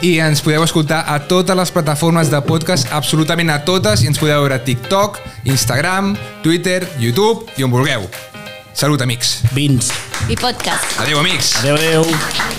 B: i ens podeu escoltar a totes les plataformes de podcast, absolutament a totes, i ens podeu veure a TikTok, Instagram, Twitter, YouTube i on vulgueu. Salut, amics.
C: Vins.
H: I podcast.
B: Adéu, amics.
C: Adéu, adéu.